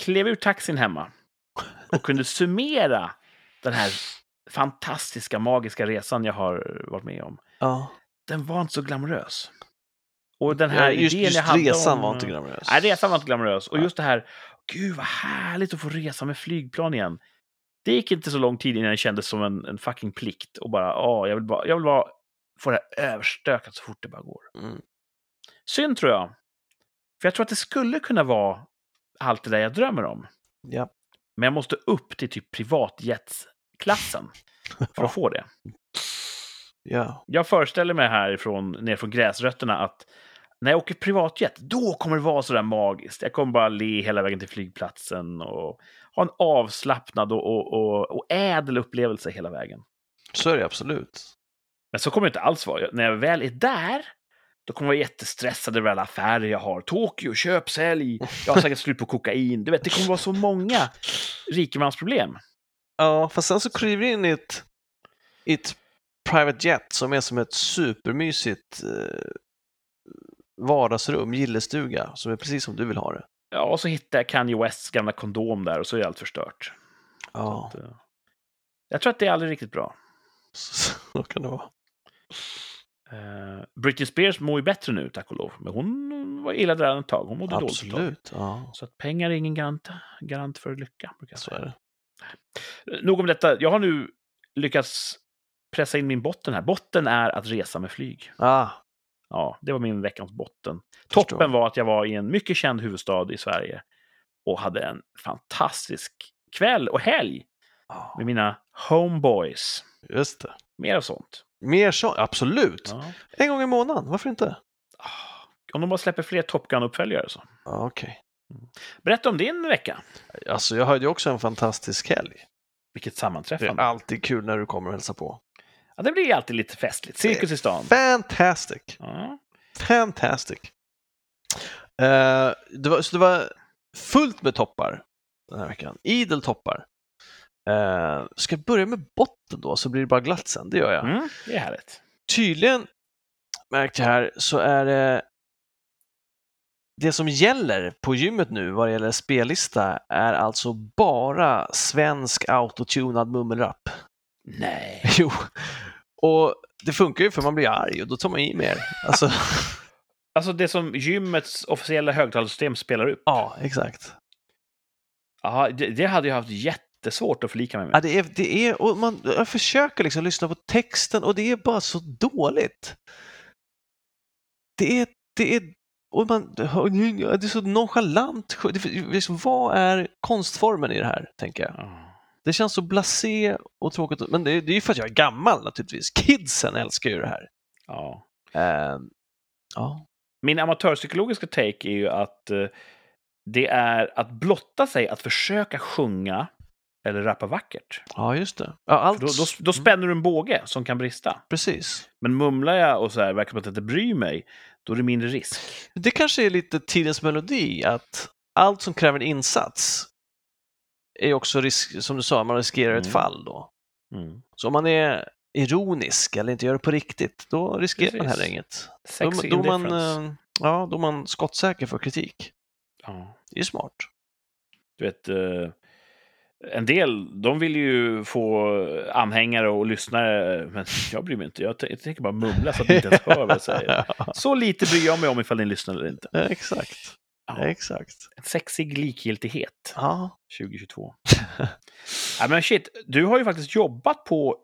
Speaker 2: klev ur taxin hemma och kunde summera den här fantastiska, magiska resan jag har varit med om.
Speaker 1: Ja.
Speaker 2: Den var inte så glamorös. Och den här
Speaker 1: Eh, just
Speaker 2: idén
Speaker 1: just
Speaker 2: jag hade
Speaker 1: resan
Speaker 2: om,
Speaker 1: var inte glamorös.
Speaker 2: Nej, resan var inte glamorös. Och
Speaker 1: Nej.
Speaker 2: just det här, gud vad härligt att få resa med flygplan igen. Det gick inte så lång tid innan det kändes som en, en fucking plikt. Och bara, ja, jag vill bara, jag vill bara få det här överstökat så fort det bara går.
Speaker 1: Mm.
Speaker 2: Synd tror jag. För jag tror att det skulle kunna vara allt det där jag drömmer om.
Speaker 1: Ja.
Speaker 2: Men jag måste upp till typ privatjetsklassen för
Speaker 1: Ja.
Speaker 2: att få det.
Speaker 1: ja.
Speaker 2: Jag föreställer mig härifrån, ner från gräsrötterna, att när jag åker privatjet, då kommer det vara sådär magiskt. Jag kommer bara le hela vägen till flygplatsen och ha en avslappnad och, och, och, och ädel upplevelse hela vägen.
Speaker 1: Så är det absolut.
Speaker 2: Men så kommer det inte alls vara. När jag väl är där, då kommer jag vara jättestressad över alla affärer jag har. Tokyo, köp, sälj, jag har säkert slut på kokain. Du vet, det kommer vara så många rikemansproblem.
Speaker 1: Ja, fast sen så kliver du in i ett, i ett private jet som är som ett supermysigt eh, vardagsrum, gillestuga, som är precis som du vill ha det.
Speaker 2: Ja, och så hittar jag Kanye Wests gamla kondom där och så är allt förstört.
Speaker 1: Ja,
Speaker 2: Så, eh, Jag tror att det är aldrig riktigt bra.
Speaker 1: så, så kan det vara.
Speaker 2: Eh, Britney Spears mår ju bättre nu, tack och lov. Men hon var illa däran ett tag. Hon mådde dåligt ett tag.
Speaker 1: Absolut. Ja,
Speaker 2: Så att pengar är ingen garant, garant för lycka. Brukar jag
Speaker 1: så
Speaker 2: säga. Eh,
Speaker 1: är det.
Speaker 2: Nog om detta. Jag har nu lyckats pressa in min botten här. Botten är att resa med flyg.
Speaker 1: Ah,
Speaker 2: Ja, det var min veckans botten.
Speaker 1: Förstår.
Speaker 2: Toppen var att jag var i en mycket känd huvudstad i Sverige och hade en fantastisk kväll och helg
Speaker 1: ah,
Speaker 2: med mina homeboys.
Speaker 1: just det.
Speaker 2: Mer av sånt.
Speaker 1: Mer så, absolut.
Speaker 2: Ja.
Speaker 1: En gång i månaden, varför inte?
Speaker 2: Ah, Om de bara släpper fler Top Gun-uppföljare så.
Speaker 1: Ja, Okej.
Speaker 2: Berätta om din vecka.
Speaker 1: Alltså, jag hade ju också en fantastisk helg.
Speaker 2: Vilket
Speaker 1: Det är
Speaker 2: sammanträffande.
Speaker 1: alltid kul när du kommer och hälsar på.
Speaker 2: Ja, det blir alltid lite festligt. Cirkus i stan.
Speaker 1: Fantastic!
Speaker 2: Ja.
Speaker 1: Fantastic! Eh, det var, så det var fullt med toppar den här veckan. Idel toppar. Eh, ska jag börja med botten då, så blir det bara glatt sen. Det gör jag.
Speaker 2: Mm, det är härligt.
Speaker 1: tydligen, märkte jag här, så är det det som gäller på gymmet nu vad det gäller spellista är alltså bara svensk autotunad mummelrap.
Speaker 2: Nej.
Speaker 1: Jo, och det funkar ju för man blir arg och då tar man i mer. Alltså,
Speaker 2: Alltså det som gymmets officiella högtalarsystem spelar upp.
Speaker 1: ja, exakt.
Speaker 2: Aha, det, det hade jag haft jättesvårt att förlika mig med.
Speaker 1: Ja, det är, det är, och man, jag försöker liksom lyssna på texten och det är bara så dåligt. Det är, det är, och man, det är så nonchalant. Det är Liksom, vad är konstformen i det här, tänker jag?
Speaker 2: Ja.
Speaker 1: Det känns så blasé och tråkigt. Men det, är- det är ju för att jag är gammal naturligtvis. Kidsen älskar ju det här.
Speaker 2: Ja.
Speaker 1: Ehm, ja.
Speaker 2: Min amatörpsykologiska take är ju att eh, det är att blotta sig, att försöka sjunga eller rappa vackert.
Speaker 1: ja, just det. Ja, allt,
Speaker 2: Då, då, då
Speaker 1: Mm.
Speaker 2: spänner du en båge som kan brista.
Speaker 1: precis.
Speaker 2: Men mumlar jag och så här, verkar som att jag inte bryr mig, då är det mindre risk.
Speaker 1: Det kanske är lite tidens melodi att allt som kräver en insats är också risk, som du sa, man riskerar ett
Speaker 2: Mm.
Speaker 1: fall då. Så om man är ironisk eller inte gör det på riktigt, då riskerar man
Speaker 2: Precis.
Speaker 1: heller inget. Då,
Speaker 2: Sexy
Speaker 1: då, man,
Speaker 2: indifference.
Speaker 1: eh, ja, då är man skottsäker för kritik.
Speaker 2: ja.
Speaker 1: Det är smart.
Speaker 2: Du vet, eh, en del de vill ju få anhängare och lyssnare, eh, men jag bryr mig inte. Jag, t- jag tänker bara mumla så att ni inte ens hör vad jag säger. Så lite bryr jag mig om ifall ni lyssnar eller inte.
Speaker 1: Exakt.
Speaker 2: Ja.
Speaker 1: Exakt.
Speaker 2: En sexig likgiltighet
Speaker 1: Ja.
Speaker 2: 2022. ja, men shit, du har ju faktiskt jobbat på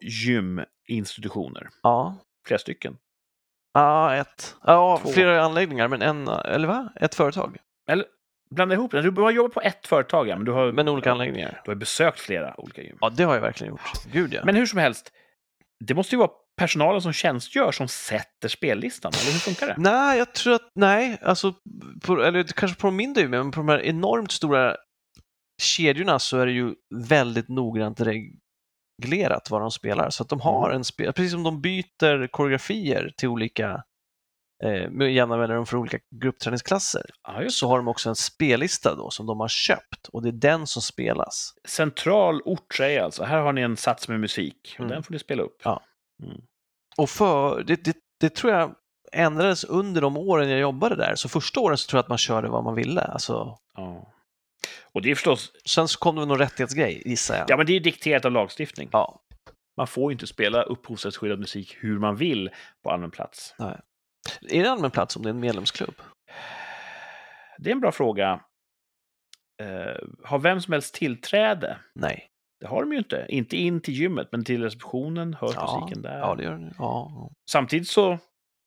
Speaker 2: gyminstitutioner,
Speaker 1: Ja.
Speaker 2: flera stycken.
Speaker 1: Ja, ett. Ja,
Speaker 2: Två.
Speaker 1: flera anläggningar, men en, eller va? Ett företag.
Speaker 2: Blanda ihop det. Du har jobbat på ett företag, ja, men du har,
Speaker 1: Men olika anläggningar.
Speaker 2: du har besökt flera olika gym.
Speaker 1: Ja, det har jag verkligen gjort. Gud ja.
Speaker 2: Men hur som helst, det måste ju vara personalen som tjänstgör som sätter spellistan, eller hur funkar det?
Speaker 1: Nej, jag tror att, nej, alltså, på, eller kanske på de mindre, gymmen, men på de här enormt stora kedjorna så är det ju väldigt noggrant reglerat vad de spelar. Så att de har en spel, precis som de byter koreografier till olika, eh, med jämna mellanrum för olika gruppträningsklasser,
Speaker 2: Ja, just.
Speaker 1: så har de också en spellista då som de har köpt och det är den som spelas.
Speaker 2: Central ort säger alltså, här har ni en sats med musik, och
Speaker 1: Mm.
Speaker 2: den får ni spela upp.
Speaker 1: Ja. Och för, det, det, det tror jag ändrades under de åren jag jobbade där. Så första åren så tror jag att man körde vad man ville. Alltså,
Speaker 2: Ja. Och det är förstås,
Speaker 1: sen så kom det någon rättighetsgrej, gissar jag.
Speaker 2: ja men det är dikterat av lagstiftning.
Speaker 1: Ja,
Speaker 2: Man får ju inte spela upphovsrättsskyddad musik hur man vill på allmän plats.
Speaker 1: Är det allmän plats om det är en medlemsklubb?
Speaker 2: Det är en bra fråga. Eh, har vem som helst tillträde?
Speaker 1: Nej.
Speaker 2: Det har de ju inte. Inte in till gymmet, men till receptionen hörs
Speaker 1: Ja,
Speaker 2: musiken där.
Speaker 1: Ja, det gör det. Ja.
Speaker 2: Samtidigt så,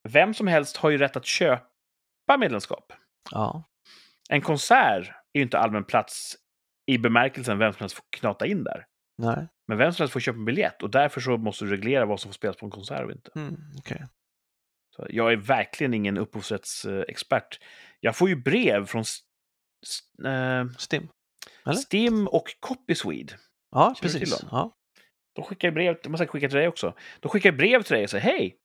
Speaker 2: vem som helst har ju rätt att köpa medlemskap.
Speaker 1: ja.
Speaker 2: En konsert är ju inte allmän plats i bemärkelsen vem som helst får knata in där.
Speaker 1: Nej.
Speaker 2: Men vem som helst får köpa en biljett och därför så måste du reglera vad som får spelas på en konsert och inte.
Speaker 1: Mm, okej.
Speaker 2: Så jag är verkligen ingen upphovsrättsexpert. Jag får ju brev från S- S- eh,
Speaker 1: Stim. Eller?
Speaker 2: Stim och Copyswede.
Speaker 1: Ja,
Speaker 2: Känner du
Speaker 1: precis.
Speaker 2: till
Speaker 1: Ja.
Speaker 2: De skickar ju brev, de har säkert skickat till dig också. De skickar ju brev till dig och säger hej!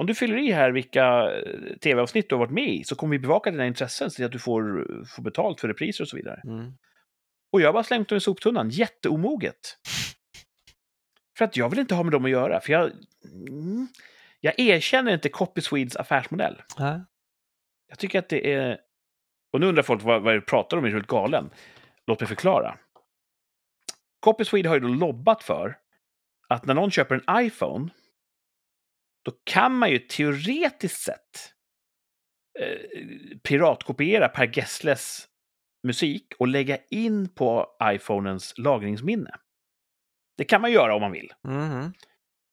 Speaker 2: Om du fyller i här vilka eh, tv-avsnitt du har varit med i så kommer vi bevaka dina intressen så att du får, eh, får betalt för repriser och så vidare.
Speaker 1: Mm.
Speaker 2: Och jag har bara slängt dem i soptunnan, jätteomoget. För att jag vill inte ha med dem att göra, för jag... Mm, jag erkänner inte Copy Swedes affärsmodell.
Speaker 1: Nej.
Speaker 2: Jag tycker att det är... Och nu undrar folk vad, vad jag pratar om, är du helt galen? Låt mig förklara. Copy Swede har ju då lobbat för att när någon köper en iPhone då kan man ju teoretiskt sett eh, piratkopiera Per Gessles musik och lägga in på iPhonens lagringsminne. Det kan man göra om man vill.
Speaker 1: Mhm.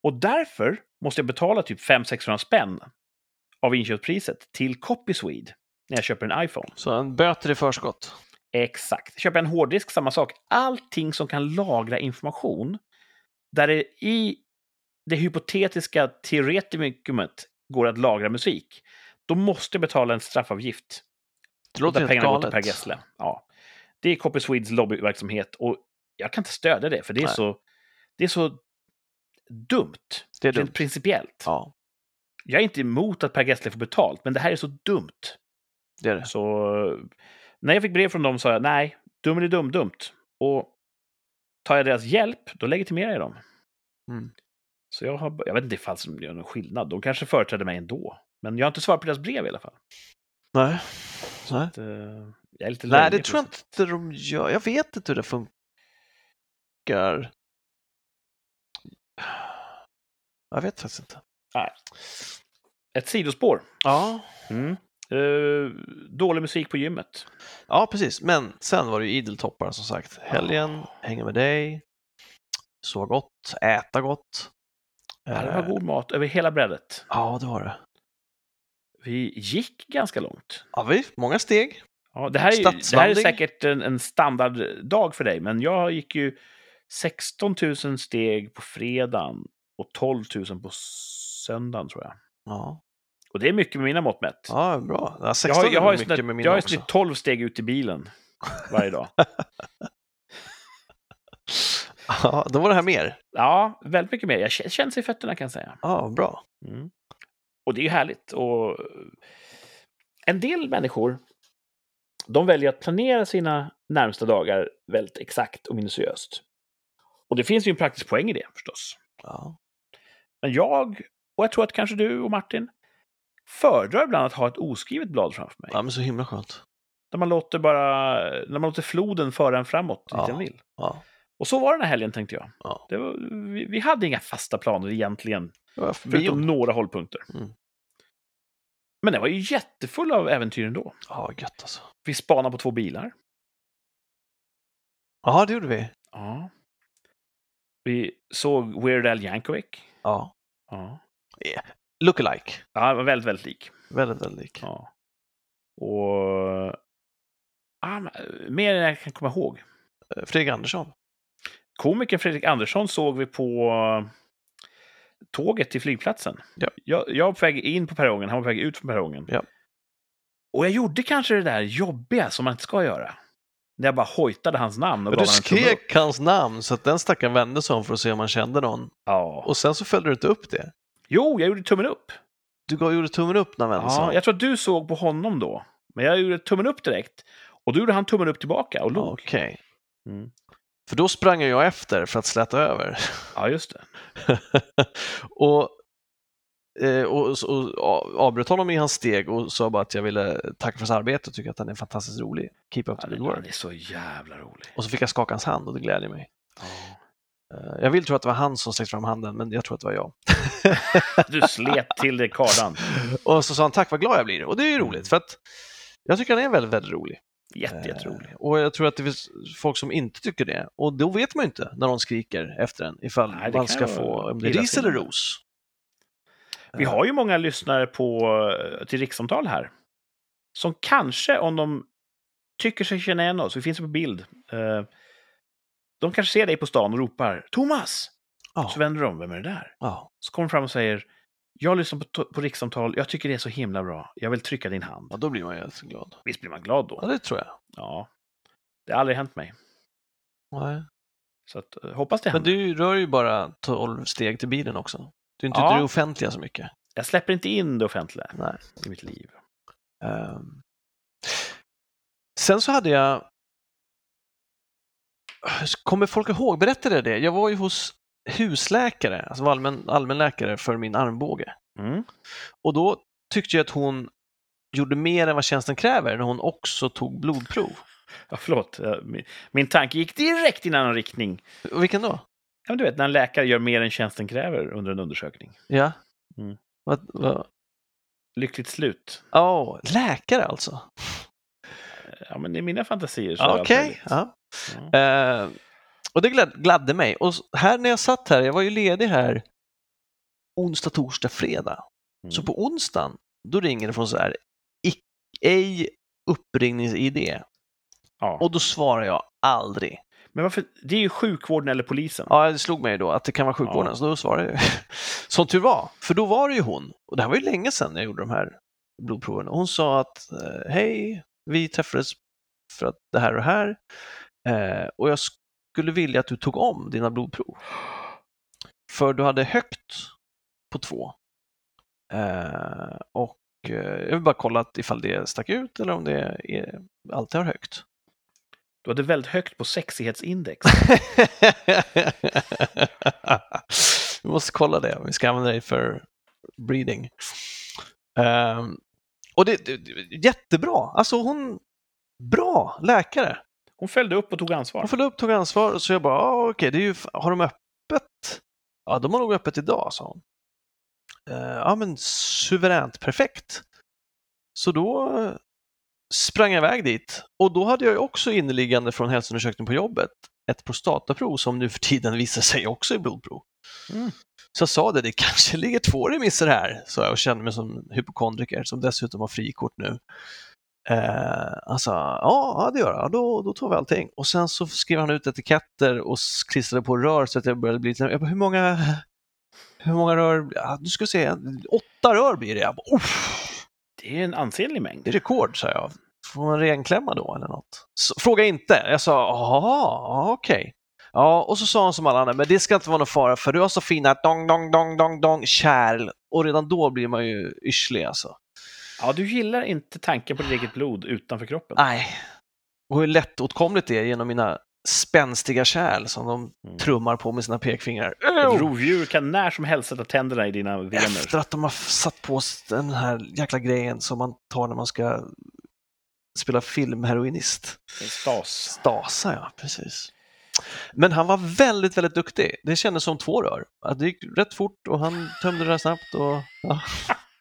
Speaker 2: Och därför måste jag betala typ 500-600 spänn av inköpspriset till Copyswede när jag köper en iPhone.
Speaker 1: Så en böter i förskott.
Speaker 2: Exakt. Köper jag en hårddisk, samma sak. Allting som kan lagra information där det i det hypotetiska teoretikumet går att lagra musik, då måste jag betala en straffavgift.
Speaker 1: Det låter
Speaker 2: där
Speaker 1: helt
Speaker 2: pengarna går till
Speaker 1: galet.
Speaker 2: Per Gessle. Ja. Det är Copy Swedes lobbyverksamhet och jag kan inte stödja det, för det är,
Speaker 1: Nej.
Speaker 2: så, det är så dumt.
Speaker 1: Det är
Speaker 2: Rent
Speaker 1: dumt.
Speaker 2: principiellt.
Speaker 1: Ja,
Speaker 2: Jag är inte emot att Per Gessle får betalt, men det här är så dumt.
Speaker 1: det är det.
Speaker 2: Så eh, när jag fick brev från dem sa jag nej, dum är dum, dumt. Och tar jag deras hjälp, då legitimerar jag dem.
Speaker 1: Mm.
Speaker 2: Så jag, har, jag vet inte ifall det gör någon skillnad. De kanske företräder mig ändå. Men jag har inte svarat på deras brev i alla fall.
Speaker 1: Nej. Nej.
Speaker 2: Så, eh, jag är lite
Speaker 1: Nej, det
Speaker 2: löjlig
Speaker 1: tror jag
Speaker 2: på sätt.
Speaker 1: inte de gör. Jag vet inte hur det funkar. Jag vet faktiskt inte.
Speaker 2: Ett sidospår.
Speaker 1: Ja,
Speaker 2: Mm. Eh, dålig musik på gymmet.
Speaker 1: ja precis. Men sen var det ju ideltoppar som sagt. Helgen,
Speaker 2: Ah.
Speaker 1: hänga med dig, sova gott, äta gott.
Speaker 2: Ja, Det
Speaker 1: Eh,
Speaker 2: var god mat över hela brädet.
Speaker 1: Ja, det var det.
Speaker 2: Vi gick ganska långt.
Speaker 1: Ja, vi, många steg.
Speaker 2: Ja, det, här är, ju- det här är
Speaker 1: Stadsvandring.
Speaker 2: säkert en, en standarddag för dig, men jag gick ju 16 000 steg på fredagen och 12 000 på söndagen, tror jag.
Speaker 1: Ja,
Speaker 2: Och det är mycket med mina mått mätt.
Speaker 1: ja bra. Ja,
Speaker 2: jag
Speaker 1: 16
Speaker 2: har, jag har,
Speaker 1: är
Speaker 2: ju
Speaker 1: mycket
Speaker 2: snitt-
Speaker 1: med
Speaker 2: jag
Speaker 1: mina
Speaker 2: har ju
Speaker 1: också.
Speaker 2: snitt 12 steg ut i bilen varje dag.
Speaker 1: Ja, då var det här mer.
Speaker 2: ja, väldigt mycket mer. Jag k- känner sig i fötterna, kan jag säga.
Speaker 1: Ja, bra.
Speaker 2: Mm. Och det är ju härligt. Och eh, en del människor de väljer att planera sina närmsta dagar väldigt exakt och minutiöst. Och det finns ju en praktisk poäng i det förstås.
Speaker 1: Ja.
Speaker 2: Men jag, och jag tror att kanske du och Martin, föredrar ibland att ha ett oskrivet blad framför mig.
Speaker 1: ja, men så himla skönt.
Speaker 2: Där man låter, bara, när man låter floden föra en framåt dit
Speaker 1: Ja.
Speaker 2: den vill.
Speaker 1: Ja.
Speaker 2: Och så var den här helgen tänkte jag.
Speaker 1: Ja.
Speaker 2: Det var, vi, vi hade inga fasta planer egentligen
Speaker 1: Det var
Speaker 2: Förutom
Speaker 1: bion.
Speaker 2: några hållpunkter.
Speaker 1: Mm.
Speaker 2: Men den var ju jättefull av äventyr ändå.
Speaker 1: Ja, gött alltså.
Speaker 2: Vi spanade på två bilar.
Speaker 1: Ja, det gjorde vi.
Speaker 2: Ja. Vi såg Weird Al Yankovic.
Speaker 1: Ja.
Speaker 2: Ja.
Speaker 1: Lookalike.
Speaker 2: ja, han var väldigt, väldigt lik.
Speaker 1: Väldigt, väldigt lik.
Speaker 2: Ja. Och... Ja, men, mer än jag kan komma ihåg.
Speaker 1: Eh, Fredrik Andersson.
Speaker 2: Komikern Fredrik Andersson såg vi på eh, tåget till flygplatsen.
Speaker 1: Ja.
Speaker 2: Jag, jag var på väg in på perrongen, han var på väg ut från perrongen.
Speaker 1: Ja.
Speaker 2: Och jag gjorde kanske det där jobbiga som man inte ska göra. När jag bara hojtade hans namn. Och
Speaker 1: Men
Speaker 2: gav
Speaker 1: du
Speaker 2: han en tumme upp.
Speaker 1: skrek hans namn så att den stackaren vände sig om för att se om han kände någon.
Speaker 2: Ja.
Speaker 1: Och sen så följde du inte upp det.
Speaker 2: Jo, jag gjorde tummen upp.
Speaker 1: Du gav, gjorde tummen upp när han vände sig
Speaker 2: Ja,
Speaker 1: om.
Speaker 2: jag tror att du såg på honom då. Men jag gjorde tummen upp direkt. Och då gjorde han tummen upp tillbaka och log.
Speaker 1: Okej.
Speaker 2: Mm.
Speaker 1: För då sprang ju jag efter för att släta över.
Speaker 2: Ja, just det.
Speaker 1: och, eh, och, och, och avbröt honom i hans steg och sa bara att jag ville tacka för hans arbete och tycker att han är fantastiskt rolig. Keep up
Speaker 2: Ja,
Speaker 1: the
Speaker 2: det
Speaker 1: good
Speaker 2: han
Speaker 1: work.
Speaker 2: är så jävla rolig.
Speaker 1: Och så fick jag skaka hans hand och det gläder mig.
Speaker 2: Ja.
Speaker 1: Eh, Jag vill tro att det var han som sträckte fram handen, men jag tror att det var jag.
Speaker 2: Du slet till dig kardan.
Speaker 1: Och så sa han tack vad glad jag blir. Och det är ju
Speaker 2: Mm.
Speaker 1: roligt för att jag tycker han är väldigt, väldigt rolig.
Speaker 2: Jätte, jätterolig.
Speaker 1: Eh, Och jag tror att det finns folk som inte tycker det. Och då vet man ju inte när någon skriker efter en ifall
Speaker 2: Nej, det
Speaker 1: man
Speaker 2: kan
Speaker 1: ska
Speaker 2: ju
Speaker 1: få
Speaker 2: vara
Speaker 1: om det är ris eller
Speaker 2: illasinnat.
Speaker 1: ros.
Speaker 2: Vi har ju många lyssnare på, eh, till rikssamtal här. Som kanske, om de tycker sig känna igen oss, vi finns ju på bild. eh, De kanske ser dig på stan och ropar Thomas!
Speaker 1: Ja.
Speaker 2: Så vänder de, vem är det där?
Speaker 1: Ja,
Speaker 2: Så kommer de fram och säger jag lyssnar på, to- på rikssamtal, jag tycker det är så himla bra, jag vill trycka din hand.
Speaker 1: ja, då blir man ju helt glad.
Speaker 2: Visst blir man glad
Speaker 1: Ja,
Speaker 2: då?
Speaker 1: det tror jag.
Speaker 2: Ja. Det har aldrig hänt mig.
Speaker 1: Nej.
Speaker 2: Så att, eh, hoppas det
Speaker 1: Men
Speaker 2: händer.
Speaker 1: du rör ju bara 12 steg till bilen också. Du är inte
Speaker 2: Ja.
Speaker 1: ute i det offentliga så mycket.
Speaker 2: Jag släpper inte in det offentliga
Speaker 1: Nej.
Speaker 2: i mitt liv.
Speaker 1: Ehm. Sen så hade jag... Kommer folk ihåg? Berättade jag det? Jag var ju hos husläkare, alltså var allmän, allmänläkare för min armbåge.
Speaker 2: Mm.
Speaker 1: Och då tyckte jag att hon gjorde mer än vad tjänsten kräver när hon också tog blodprov.
Speaker 2: Ja, förlåt, Eh, min, min tanke gick direkt i en annan riktning.
Speaker 1: Och Vilken då?
Speaker 2: Ja, men du vet, när en läkare gör mer än tjänsten kräver under en undersökning.
Speaker 1: Ja.
Speaker 2: Mm.
Speaker 1: Vad, vad?
Speaker 2: Lyckligt slut.
Speaker 1: Åh, läkare alltså?
Speaker 2: Ja, men i mina fantasier så är allt
Speaker 1: Okej.
Speaker 2: möjligt.
Speaker 1: ja.
Speaker 2: Ja.
Speaker 1: Eh, och det glad, gladde mig. Och s- här när jag satt här, jag var ju ledig här onsdag, torsdag, fredag.
Speaker 2: Mm.
Speaker 1: Så på onsdagen, då ringer det från så här, ic- ej uppringningsidé.
Speaker 2: Ja.
Speaker 1: Och då svarar jag aldrig.
Speaker 2: Men varför? Det är ju sjukvården eller polisen.
Speaker 1: Ja, det slog mig ju då att det kan vara sjukvården,
Speaker 2: Ja.
Speaker 1: så då svarade jag. Som tur var, för då var det ju hon. Och det här var ju länge sedan jag gjorde de här blodproven. Och Hon sa att eh, hej, vi träffades för att det här och det här. Eh, och jag skulle vilja att du tog om dina blodprov. För du hade högt på två. Eh, och eh, jag vill bara kolla att ifall det stack ut eller om det är, alltid har högt.
Speaker 2: Du hade väldigt högt på sexighetsindex.
Speaker 1: vi måste kolla det. Vi ska använda det för breeding. Ehm, och det, det, det jättebra. Alltså hon, bra läkare.
Speaker 2: Hon följde upp och tog ansvar.
Speaker 1: Hon följde upp, tog ansvar. Så jag bara, ah, okej, det är ju, f- har de öppet? Ja, de har nog öppet idag, sa hon. Eh, Ja, men suveränt perfekt. Så då eh, sprang jag iväg dit och då hade jag ju också inneliggande från hälsoundersökningen på jobbet ett prostataprov som nu för tiden visar sig också i blodprov.
Speaker 2: Mm.
Speaker 1: Så jag sa det, det kanske ligger två remisser här, sa jag och kände mig som en hypokondriker som dessutom har frikort nu. Eh, han sa, ja, ja det gör jag, då, då tar vi allting. Och sen så skrev han ut etiketter och s- klistrade på rör så att jag började bli lite jag bara, hur många, hur många rör, ja, du ska se, åtta rör blir det. Jag bara, "Uff."
Speaker 2: Det är en ansenlig mängd.
Speaker 1: Det är rekord, sa jag. Får man renklämma då eller något? Så, fråga inte. Jag sa, jaha, okej. Ja, och så sa han som alla andra, men det ska inte vara någon fara för du har så fina dong, dong, dong, dong, dong, kärl. Och redan då blir man ju yrslig alltså.
Speaker 2: Ja, du gillar inte tanken på ditt eget blod utanför kroppen.
Speaker 1: Nej. Och hur lättåtkomligt det är genom mina spänstiga kärl som de
Speaker 2: Mm.
Speaker 1: trummar på med sina pekfingrar.
Speaker 2: Ett
Speaker 1: Ew!
Speaker 2: rovdjur kan när som helst sätta tänderna i dina vener.
Speaker 1: Efter att de har f- satt på s- den här jäkla grejen som man tar när man ska spela filmheroinist.
Speaker 2: Stas.
Speaker 1: Stasa, ja, precis. Men han var väldigt, väldigt duktig. Det kändes som två rör. Att Det gick rätt fort och han tömde det där snabbt. Och...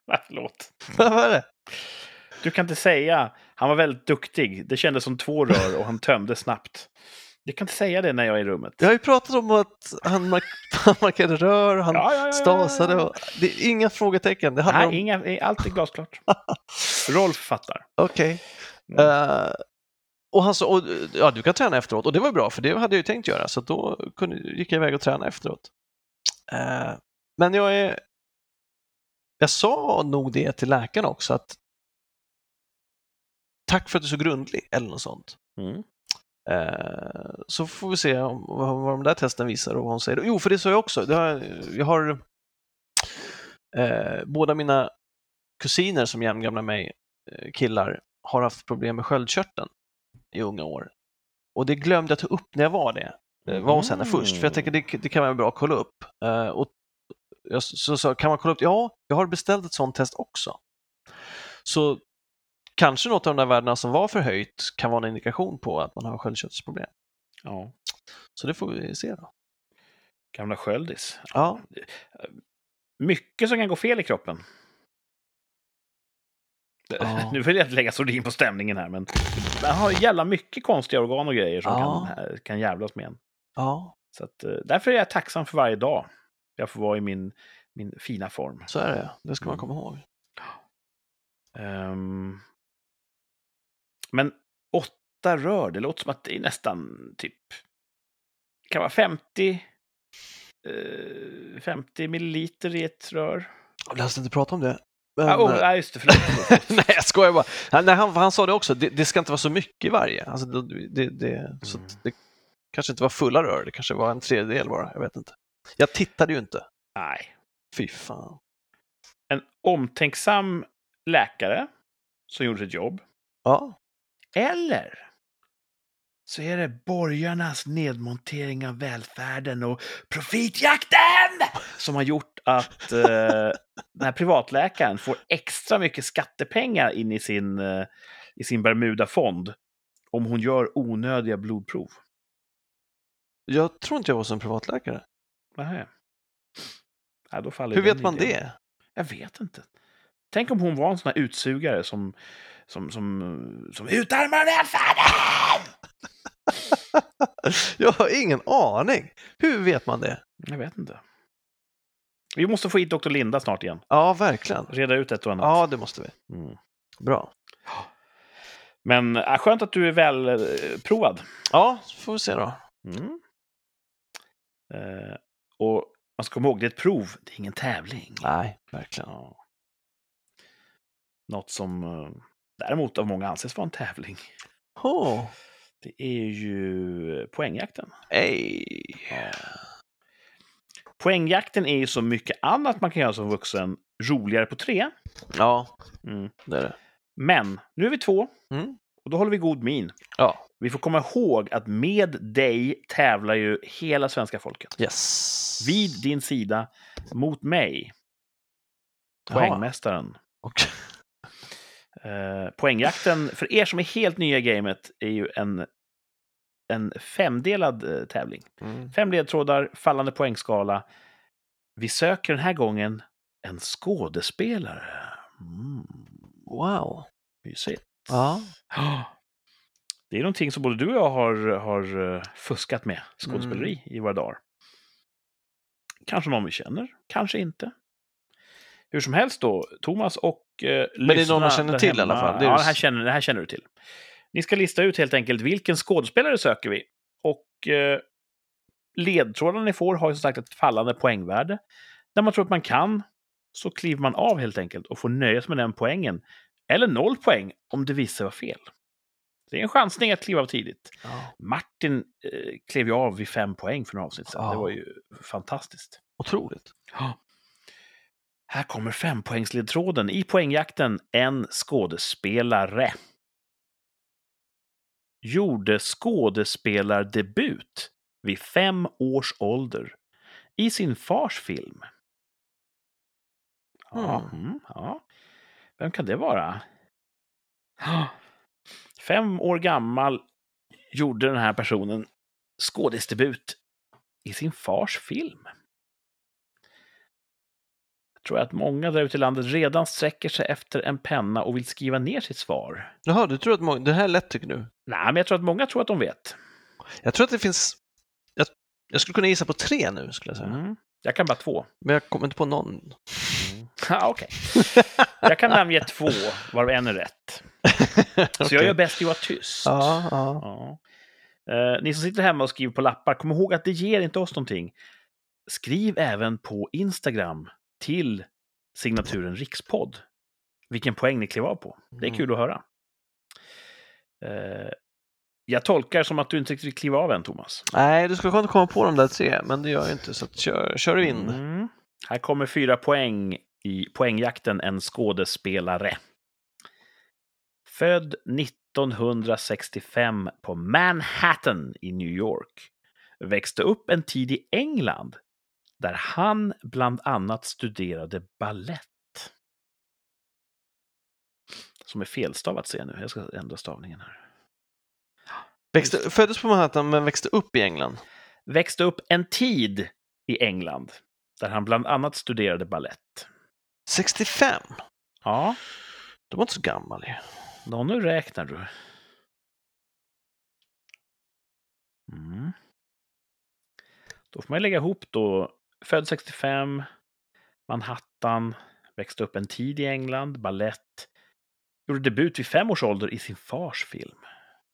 Speaker 1: Ja.
Speaker 2: Ah, Förlåt.
Speaker 1: Vad var det?
Speaker 2: Du kan inte säga. Han var väldigt duktig. Det kändes som två rör och han tömde snabbt. Du kan inte säga det när jag är i rummet.
Speaker 1: Jag har ju pratat om att han, mark- han markerade rör, han
Speaker 2: Ja, ja, ja, ja, ja.
Speaker 1: stasade. Och... Det är inga frågetecken. Det handlar
Speaker 2: Nej,
Speaker 1: om...
Speaker 2: inga, allt är glasklart. Rolf fattar.
Speaker 1: Okej.
Speaker 2: Mm.
Speaker 1: Eh, och han sa, och, ja du kan träna efteråt. Och det var ju bra, för det hade jag ju tänkt göra. Så att då kunde, gick jag iväg och tränade efteråt. Eh, men jag är... Jag sa nog det till läkaren också, att tack för att du är så grundlig, eller något sånt.
Speaker 2: Mm.
Speaker 1: Eh, så får vi se om, vad, vad de där testen visar och vad hon säger. Jo, för det sa jag också. Det har, jag har eh, båda mina kusiner som är jämngamla med mig, eh, killar, har haft problem med sköldkörteln i unga år. Och det glömde jag ta upp när jag var det. Eh, Var hos henne först, för jag tänker det, det kan vara bra att kolla upp. Eh, och jag s- så sa, kan man kolla upp det? Ja, jag har beställt ett sånt test också. Så kanske något av de där värdena som var förhöjt kan vara en indikation på att man har sköldkörtelproblem.
Speaker 2: Ja.
Speaker 1: Så det får vi se då.
Speaker 2: Gamla sköldis.
Speaker 1: Ja,
Speaker 2: Mycket som kan gå fel i kroppen.
Speaker 1: Ja.
Speaker 2: Nu vill jag inte lägga sordin på stämningen här, men man har jävla mycket konstiga organ och grejer som
Speaker 1: Ja.
Speaker 2: kan, eh, kan jävlas med en.
Speaker 1: ja
Speaker 2: Så att, eh, därför är jag tacksam för varje dag jag får vara i min, min fina form.
Speaker 1: så är det. Det ska man komma ihåg.
Speaker 2: Ehm, men åtta rör, det låter som att det är nästan typ... Det kan vara 50, eh, 50 milliliter i ett rör.
Speaker 1: Jag läste inte prata om det. Men, eh,
Speaker 2: Ja, oh, ja, just det, förlåt.
Speaker 1: Ah, nej, jag skojar bara. Han, nej, han, han sa det också, det, det ska inte vara så mycket i varje. Alltså, det, det, det, så
Speaker 2: Mm.
Speaker 1: att det kanske inte var fulla rör, det kanske var en tredjedel bara. Jag vet inte. Jag tittade ju inte.
Speaker 2: Nej.
Speaker 1: Fy fan.
Speaker 2: en omtänksam läkare som gjorde sitt jobb.
Speaker 1: Ja,
Speaker 2: Eller så är det borgarnas nedmontering av välfärden och profitjakten som har gjort att eh, den här privatläkaren får extra mycket skattepengar in i sin, eh, i sin Bermuda-fond om hon gör onödiga blodprov.
Speaker 1: jag tror inte jag var som privatläkare.
Speaker 2: Nähä. Ja, då faller
Speaker 1: Hur
Speaker 2: den
Speaker 1: vet man
Speaker 2: idén.
Speaker 1: det?
Speaker 2: Jag vet inte. Tänk om hon var en sån här utsugare som... Som, som, som utarmar välfärden!
Speaker 1: Jag har ingen aning. Hur vet man det?
Speaker 2: Jag vet inte. Vi måste få hit Dr. Linda snart igen.
Speaker 1: Ja, verkligen.
Speaker 2: Reda ut ett och annat.
Speaker 1: Ja, det måste vi.
Speaker 2: Mm.
Speaker 1: Bra.
Speaker 2: Men äh, skönt att du är väl eh, provad.
Speaker 1: Ja, så får vi se då.
Speaker 2: Mm. Eh, och man ska komma ihåg, det är ett prov, det är ingen tävling.
Speaker 1: Nej, verkligen.
Speaker 2: Ja. Något som eh, däremot av många anses vara en tävling,
Speaker 1: Oh.
Speaker 2: det är ju poängjakten.
Speaker 1: Ej.
Speaker 2: Poängjakten är ju så mycket annat man kan göra som vuxen roligare på tre.
Speaker 1: Ja,
Speaker 2: Mm.
Speaker 1: det är det.
Speaker 2: Men nu är vi två
Speaker 1: Mm.
Speaker 2: och då håller vi god min.
Speaker 1: Ja,
Speaker 2: Vi får komma ihåg att med dig tävlar ju hela svenska folket.
Speaker 1: yes.
Speaker 2: Vid din sida, mot mig,
Speaker 1: Jaha,
Speaker 2: poängmästaren.
Speaker 1: okej.
Speaker 2: Eh, poängjakten, för er som är helt nya i gamet, är ju en, en femdelad eh, tävling.
Speaker 1: Mm.
Speaker 2: Fem ledtrådar, fallande poängskala. Vi söker den här gången en skådespelare. Mm,
Speaker 1: Wow.
Speaker 2: mysigt.
Speaker 1: Ja.
Speaker 2: Ja. Det är någonting som både du och jag har, har eh, fuskat med, skådespeleri, i våra dagar. Kanske någon vi känner, kanske inte. Hur som helst då, Thomas och eh, Men
Speaker 1: det är någon man känner till i alla fall, det är
Speaker 2: ja,
Speaker 1: ju-
Speaker 2: det här, känner, det här känner du till. Ni ska lista ut helt enkelt vilken skådespelare söker vi. Och eh, ledtrådarna ni får har ju som sagt ett fallande poängvärde. När man tror att man kan så kliver man av helt enkelt och får nöja sig med den poängen. Eller noll poäng om det visar sig vara fel. Det är en chansning att kliva av tidigt.
Speaker 1: ja.
Speaker 2: Martin eh, klev ju av vid fem poäng för några avsnitt sedan.
Speaker 1: Ja.
Speaker 2: Det var ju fantastiskt.
Speaker 1: Otroligt.
Speaker 2: Här kommer fempoängsledtråden i poängjakten En skådespelare. Gjorde skådespelardebut vid fem års ålder i sin fars film. Ja, mm, ja. Vem kan det vara? Ja. Fem år gammal gjorde den här personen skådisdebut i sin fars film. Jag tror att många där ute i landet redan sträcker sig efter en penna och vill skriva ner sitt svar.
Speaker 1: Jaha, du tror att många... det här är lätt tycker du?
Speaker 2: Nej, men jag tror att många tror att de vet.
Speaker 1: Jag tror att det finns... Jag, jag skulle kunna gissa på tre nu, skulle jag säga.
Speaker 2: Mm. Jag kan bara två.
Speaker 1: Men jag kommer inte på någon.
Speaker 2: Ja, okej. Jag kan namnge två, varav en är rätt. Så jag
Speaker 1: Okej.
Speaker 2: gör bäst i att vara tyst.
Speaker 1: Ja, ja.
Speaker 2: Ja. Eh, ni som sitter hemma och skriver på lappar, kom ihåg att det ger inte oss någonting. Skriv även på Instagram till signaturen Rikspodd vilken poäng ni klev av på. Det är
Speaker 1: Mm.
Speaker 2: kul att höra. Eh, jag tolkar som att du inte riktigt kliver av än, Thomas.
Speaker 1: Nej, du skulle kunna komma på de där tre, men det gör jag inte, så att kör, kör du in.
Speaker 2: Mm. Här kommer fyra poäng i poängjakten En skådespelare. Född 1965 på Manhattan i New York. Växte upp en tid i England där han bland annat studerade ballett. Som är felstavat ser jag nu. Jag ska ändra stavningen här.
Speaker 1: Växte, föddes på Manhattan, men växte upp i England.
Speaker 2: Växte upp en tid i England där han bland annat studerade ballett.
Speaker 1: 65?
Speaker 2: Ja,
Speaker 1: De var inte så gammal ju.
Speaker 2: Nå, nu räknar du. Mm. Då får man ju lägga ihop då. Född 65, Manhattan, växte upp en tid i England, ballett. Gjorde debut vid fem års ålder i sin fars film.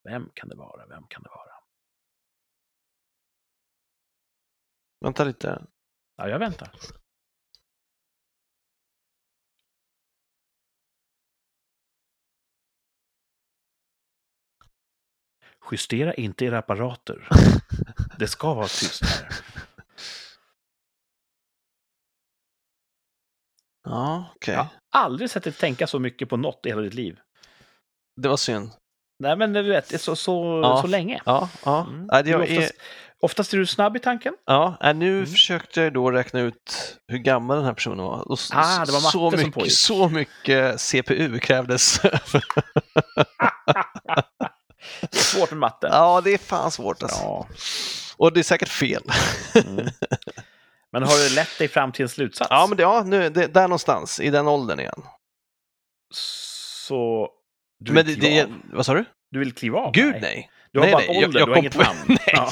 Speaker 2: Vem kan det vara? Vem kan det vara?
Speaker 1: Vänta lite.
Speaker 2: Ja, jag väntar. Justera inte era apparater. Det ska vara tyst här.
Speaker 1: Ja, okej.
Speaker 2: Jag har aldrig sett dig tänka så mycket på något i hela ditt liv.
Speaker 1: Det var synd.
Speaker 2: Nej, men du vet, det är så, så,
Speaker 1: Ja.
Speaker 2: så länge.
Speaker 1: Ja, ja.
Speaker 2: Mm.
Speaker 1: Nej, det
Speaker 2: Du är
Speaker 1: jag är,
Speaker 2: oftast, oftast är du snabb i tanken.
Speaker 1: ja nej, nu
Speaker 2: Mm.
Speaker 1: försökte jag då räkna ut hur gammal den här personen var. Och s-
Speaker 2: Ah, det var matte
Speaker 1: så
Speaker 2: som
Speaker 1: mycket,
Speaker 2: pågick.
Speaker 1: Så mycket CPU krävdes.
Speaker 2: Det är svårt med matte.
Speaker 1: ja, det är fan svårt alltså.
Speaker 2: Ja.
Speaker 1: Och det är säkert fel.
Speaker 2: Mm. Men Men har det lett dig fram till en slutsats?
Speaker 1: Ja, men det, ja nu, det, där någonstans, i den åldern igen.
Speaker 2: Så du
Speaker 1: men
Speaker 2: vill,
Speaker 1: det,
Speaker 2: kliva,
Speaker 1: det,
Speaker 2: av.
Speaker 1: vad sa du?
Speaker 2: du vill kliva av?
Speaker 1: Gud
Speaker 2: Nej.
Speaker 1: nej!
Speaker 2: Du har
Speaker 1: nej,
Speaker 2: bara
Speaker 1: nej,
Speaker 2: en ålder, du har
Speaker 1: kom
Speaker 2: inget
Speaker 1: på-
Speaker 2: namn.
Speaker 1: Nej.
Speaker 2: Ja.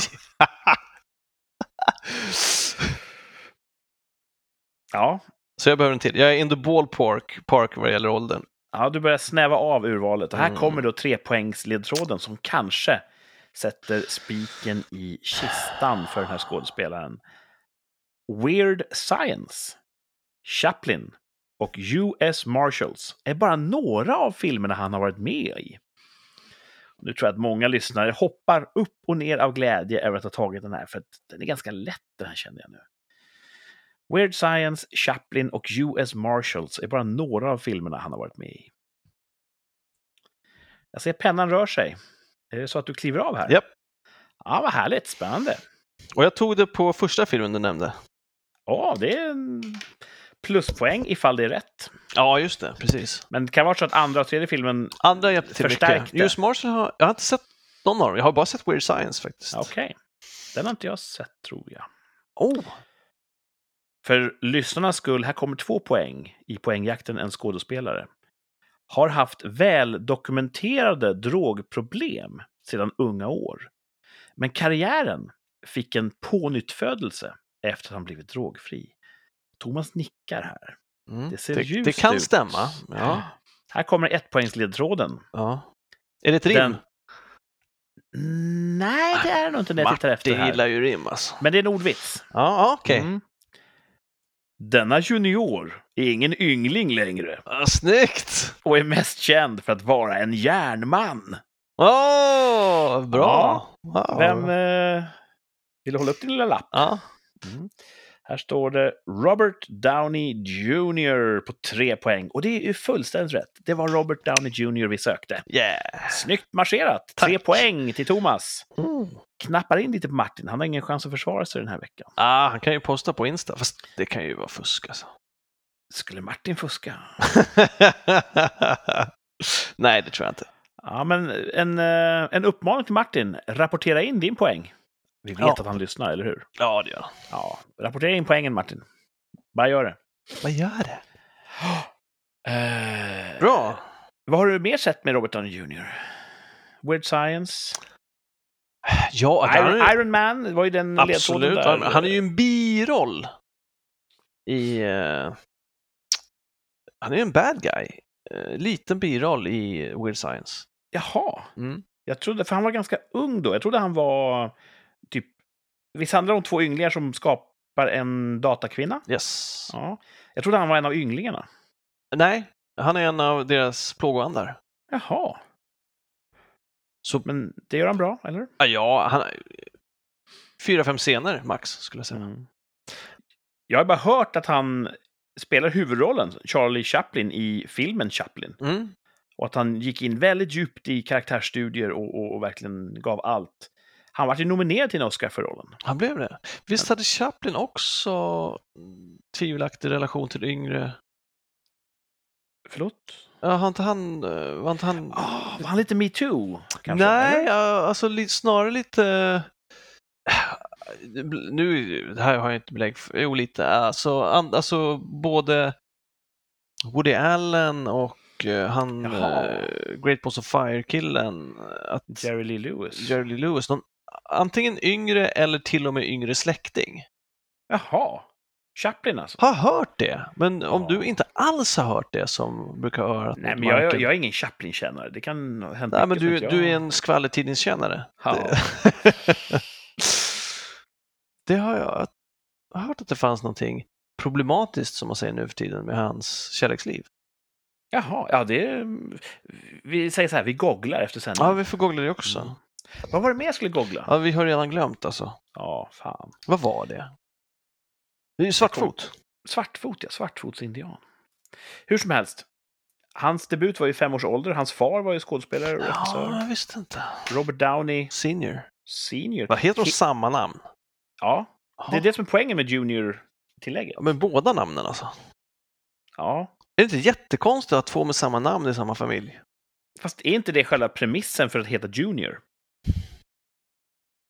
Speaker 2: Ja.
Speaker 1: Så jag behöver en till. Jag är in the ballpark park vad det gäller åldern.
Speaker 2: ja, du börjar snäva av urvalet. Och här
Speaker 1: Mm.
Speaker 2: kommer då trepoängsledtråden som kanske sätter spiken i kistan för den här skådespelaren. Weird Science, Chaplin och US Marshals är bara några av filmerna han har varit med i. Nu tror jag att många lyssnare hoppar upp och ner av glädje över att ha tagit den här, för att den är ganska lätt den här känner jag nu. Weird Science, Chaplin och US Marshals är bara några av filmerna han har varit med i. Jag ser pennan rör sig. Är det så att du kliver av här?
Speaker 1: Japp.
Speaker 2: Ja, vad härligt. Spännande.
Speaker 1: Och jag tog det på första filmen du nämnde.
Speaker 2: Ja, det är en pluspoäng ifall det är rätt.
Speaker 1: Ja, just det. Precis.
Speaker 2: Men det kan vara så att andra och tredje filmen...
Speaker 1: Andra hjälpte till mycket.
Speaker 2: Förstärkte.
Speaker 1: US Marshall har jag har inte sett någon av dem. Jag har bara sett Weird Science faktiskt.
Speaker 2: Okej. Den har inte jag sett, tror jag.
Speaker 1: Oh.
Speaker 2: För lyssnarnas skull, här kommer två poäng i poängjakten en skådespelare. Har haft väldokumenterade drogproblem sedan unga år. Men karriären fick en pånyttfödelse efter att han blivit drogfri. Thomas nickar här.
Speaker 1: Mm.
Speaker 2: Det ser
Speaker 1: det,
Speaker 2: ljust
Speaker 1: det kan
Speaker 2: ut.
Speaker 1: stämma. Ja.
Speaker 2: Här kommer ett poängsledtråden.
Speaker 1: ja. Är det ett rim?
Speaker 2: Den- Nej, det är det nog inte när jag tittar efter
Speaker 1: Martin
Speaker 2: här.
Speaker 1: gillar ju rim alltså.
Speaker 2: Men det är en ordvits.
Speaker 1: Ja, Ja, okej.
Speaker 2: Mm. Denna junior är ingen yngling längre
Speaker 1: Ah, snyggt!
Speaker 2: och är mest känd för att vara en järnman.
Speaker 1: Åh, bra! Ja.
Speaker 2: Vem eh, vill du hålla upp din lilla lapp?
Speaker 1: Ja.
Speaker 2: Här står det Robert Downey Jr på tre poäng. Och det är ju fullständigt rätt. Det var Robert Downey Jr vi sökte.
Speaker 1: Yeah!
Speaker 2: Snyggt marscherat! Tre
Speaker 1: Tack.
Speaker 2: poäng till Thomas.
Speaker 1: Mm.
Speaker 2: Knappar in lite på Martin. Han har ingen chans att försvara sig den här veckan.
Speaker 1: Ah, han kan ju posta på Insta, fast det kan ju vara fusk alltså.
Speaker 2: Skulle Martin fuska?
Speaker 1: Nej, det tror jag inte.
Speaker 2: Ja, men en, eh, en uppmaning till Martin. Rapportera in din poäng. Vi vet
Speaker 1: Ja.
Speaker 2: att han lyssnar, eller hur?
Speaker 1: Ja, det gör han.
Speaker 2: Ja, rapportera in poängen, Martin. Bara gör det.
Speaker 1: Vad gör det?
Speaker 2: Eh,
Speaker 1: Bra!
Speaker 2: Vad har du mer sett med Robert Downey Jr? Weird Science?
Speaker 1: Ja, där
Speaker 2: Iron,
Speaker 1: är-
Speaker 2: Iron Man? Det var ju den ledtråden
Speaker 1: absolut.
Speaker 2: där.
Speaker 1: Han, han är ju en biroll i... eh, han är ju en bad guy. Eh, liten biroll i Weird Science.
Speaker 2: Jaha.
Speaker 1: Mm.
Speaker 2: Jag trodde, för han var ganska ung då. Jag trodde han var typ... Visst handlar det om två ynglingar som skapar en datakvinna?
Speaker 1: Yes.
Speaker 2: Ja. Jag trodde han var en av ynglingarna.
Speaker 1: Nej, han är en av deras plågoandar.
Speaker 2: Jaha.
Speaker 1: Så
Speaker 2: Men det gör han bra, eller?
Speaker 1: Ja, Ah, Ja, han... Fyra, fem scener max skulle jag säga.
Speaker 2: Jag har bara hört att han spelar huvudrollen, Charlie Chaplin, i filmen Chaplin.
Speaker 1: Mm.
Speaker 2: Och att han gick in väldigt djupt i karaktärsstudier och, och, och verkligen gav allt. Han var ju nominerad till en Oscar för rollen.
Speaker 1: Han blev det. Visst hade Chaplin också mm, tvivelaktig relation till yngre...
Speaker 2: Förlåt?
Speaker 1: Ja, har inte han... eh, Var inte han...
Speaker 2: Ah, var han lite metoo? kanske,
Speaker 1: Nej,
Speaker 2: eller?
Speaker 1: ja, alltså li- snarare lite... eh, Nu, det här har jag inte belägg för. Jo, lite. Alltså, an, alltså både Woody Allen och eh, han
Speaker 2: Jaha.
Speaker 1: eh, Great Balls of Fire-killen. Att...
Speaker 2: Jerry Lee Lewis?
Speaker 1: Jerry Lee Lewis, någon, antingen yngre eller till och med yngre släkting.
Speaker 2: Jaha. Chaplin alltså?
Speaker 1: Har hört det, men om
Speaker 2: Ja.
Speaker 1: du inte alls har hört det som brukar höra
Speaker 2: Nej, men jag, jag, jag är ingen Chaplin-kännare. Det kan hända
Speaker 1: Nej, men
Speaker 2: mycket
Speaker 1: du,
Speaker 2: som inte
Speaker 1: du
Speaker 2: jag-
Speaker 1: är en skvallertidningskännare.
Speaker 2: Ja.
Speaker 1: Det har jag jag har hört att det fanns någonting problematiskt som man säger nu för tiden med hans kärleksliv.
Speaker 2: Jaha, ja det... är- Vi säger så här, vi googlar efter sändningen.
Speaker 1: Ja, vi får googla det
Speaker 2: Mm.
Speaker 1: också.
Speaker 2: Vad var det mer jag skulle googla?
Speaker 1: Ja, vi har redan glömt alltså.
Speaker 2: Ja, fan.
Speaker 1: Vad var det? Det är ju Svartfot.
Speaker 2: Svartfot, ja. Svartfotsindian. Hur som helst. Hans debut var ju fem års ålder. Hans far var ju skådespelare och
Speaker 1: Ja,
Speaker 2: regissör.
Speaker 1: jag visste inte.
Speaker 2: Robert Downey
Speaker 1: Senior.
Speaker 2: senior.
Speaker 1: Vad heter de
Speaker 2: He-
Speaker 1: samma namn?
Speaker 2: Ja,
Speaker 1: Ja.
Speaker 2: det är det som är poängen med junior-tillägget.
Speaker 1: Ja, men båda namnen alltså.
Speaker 2: Ja.
Speaker 1: Är det inte jättekonstigt att två med samma namn i samma familj?
Speaker 2: Fast är inte det själva premissen för att heta junior?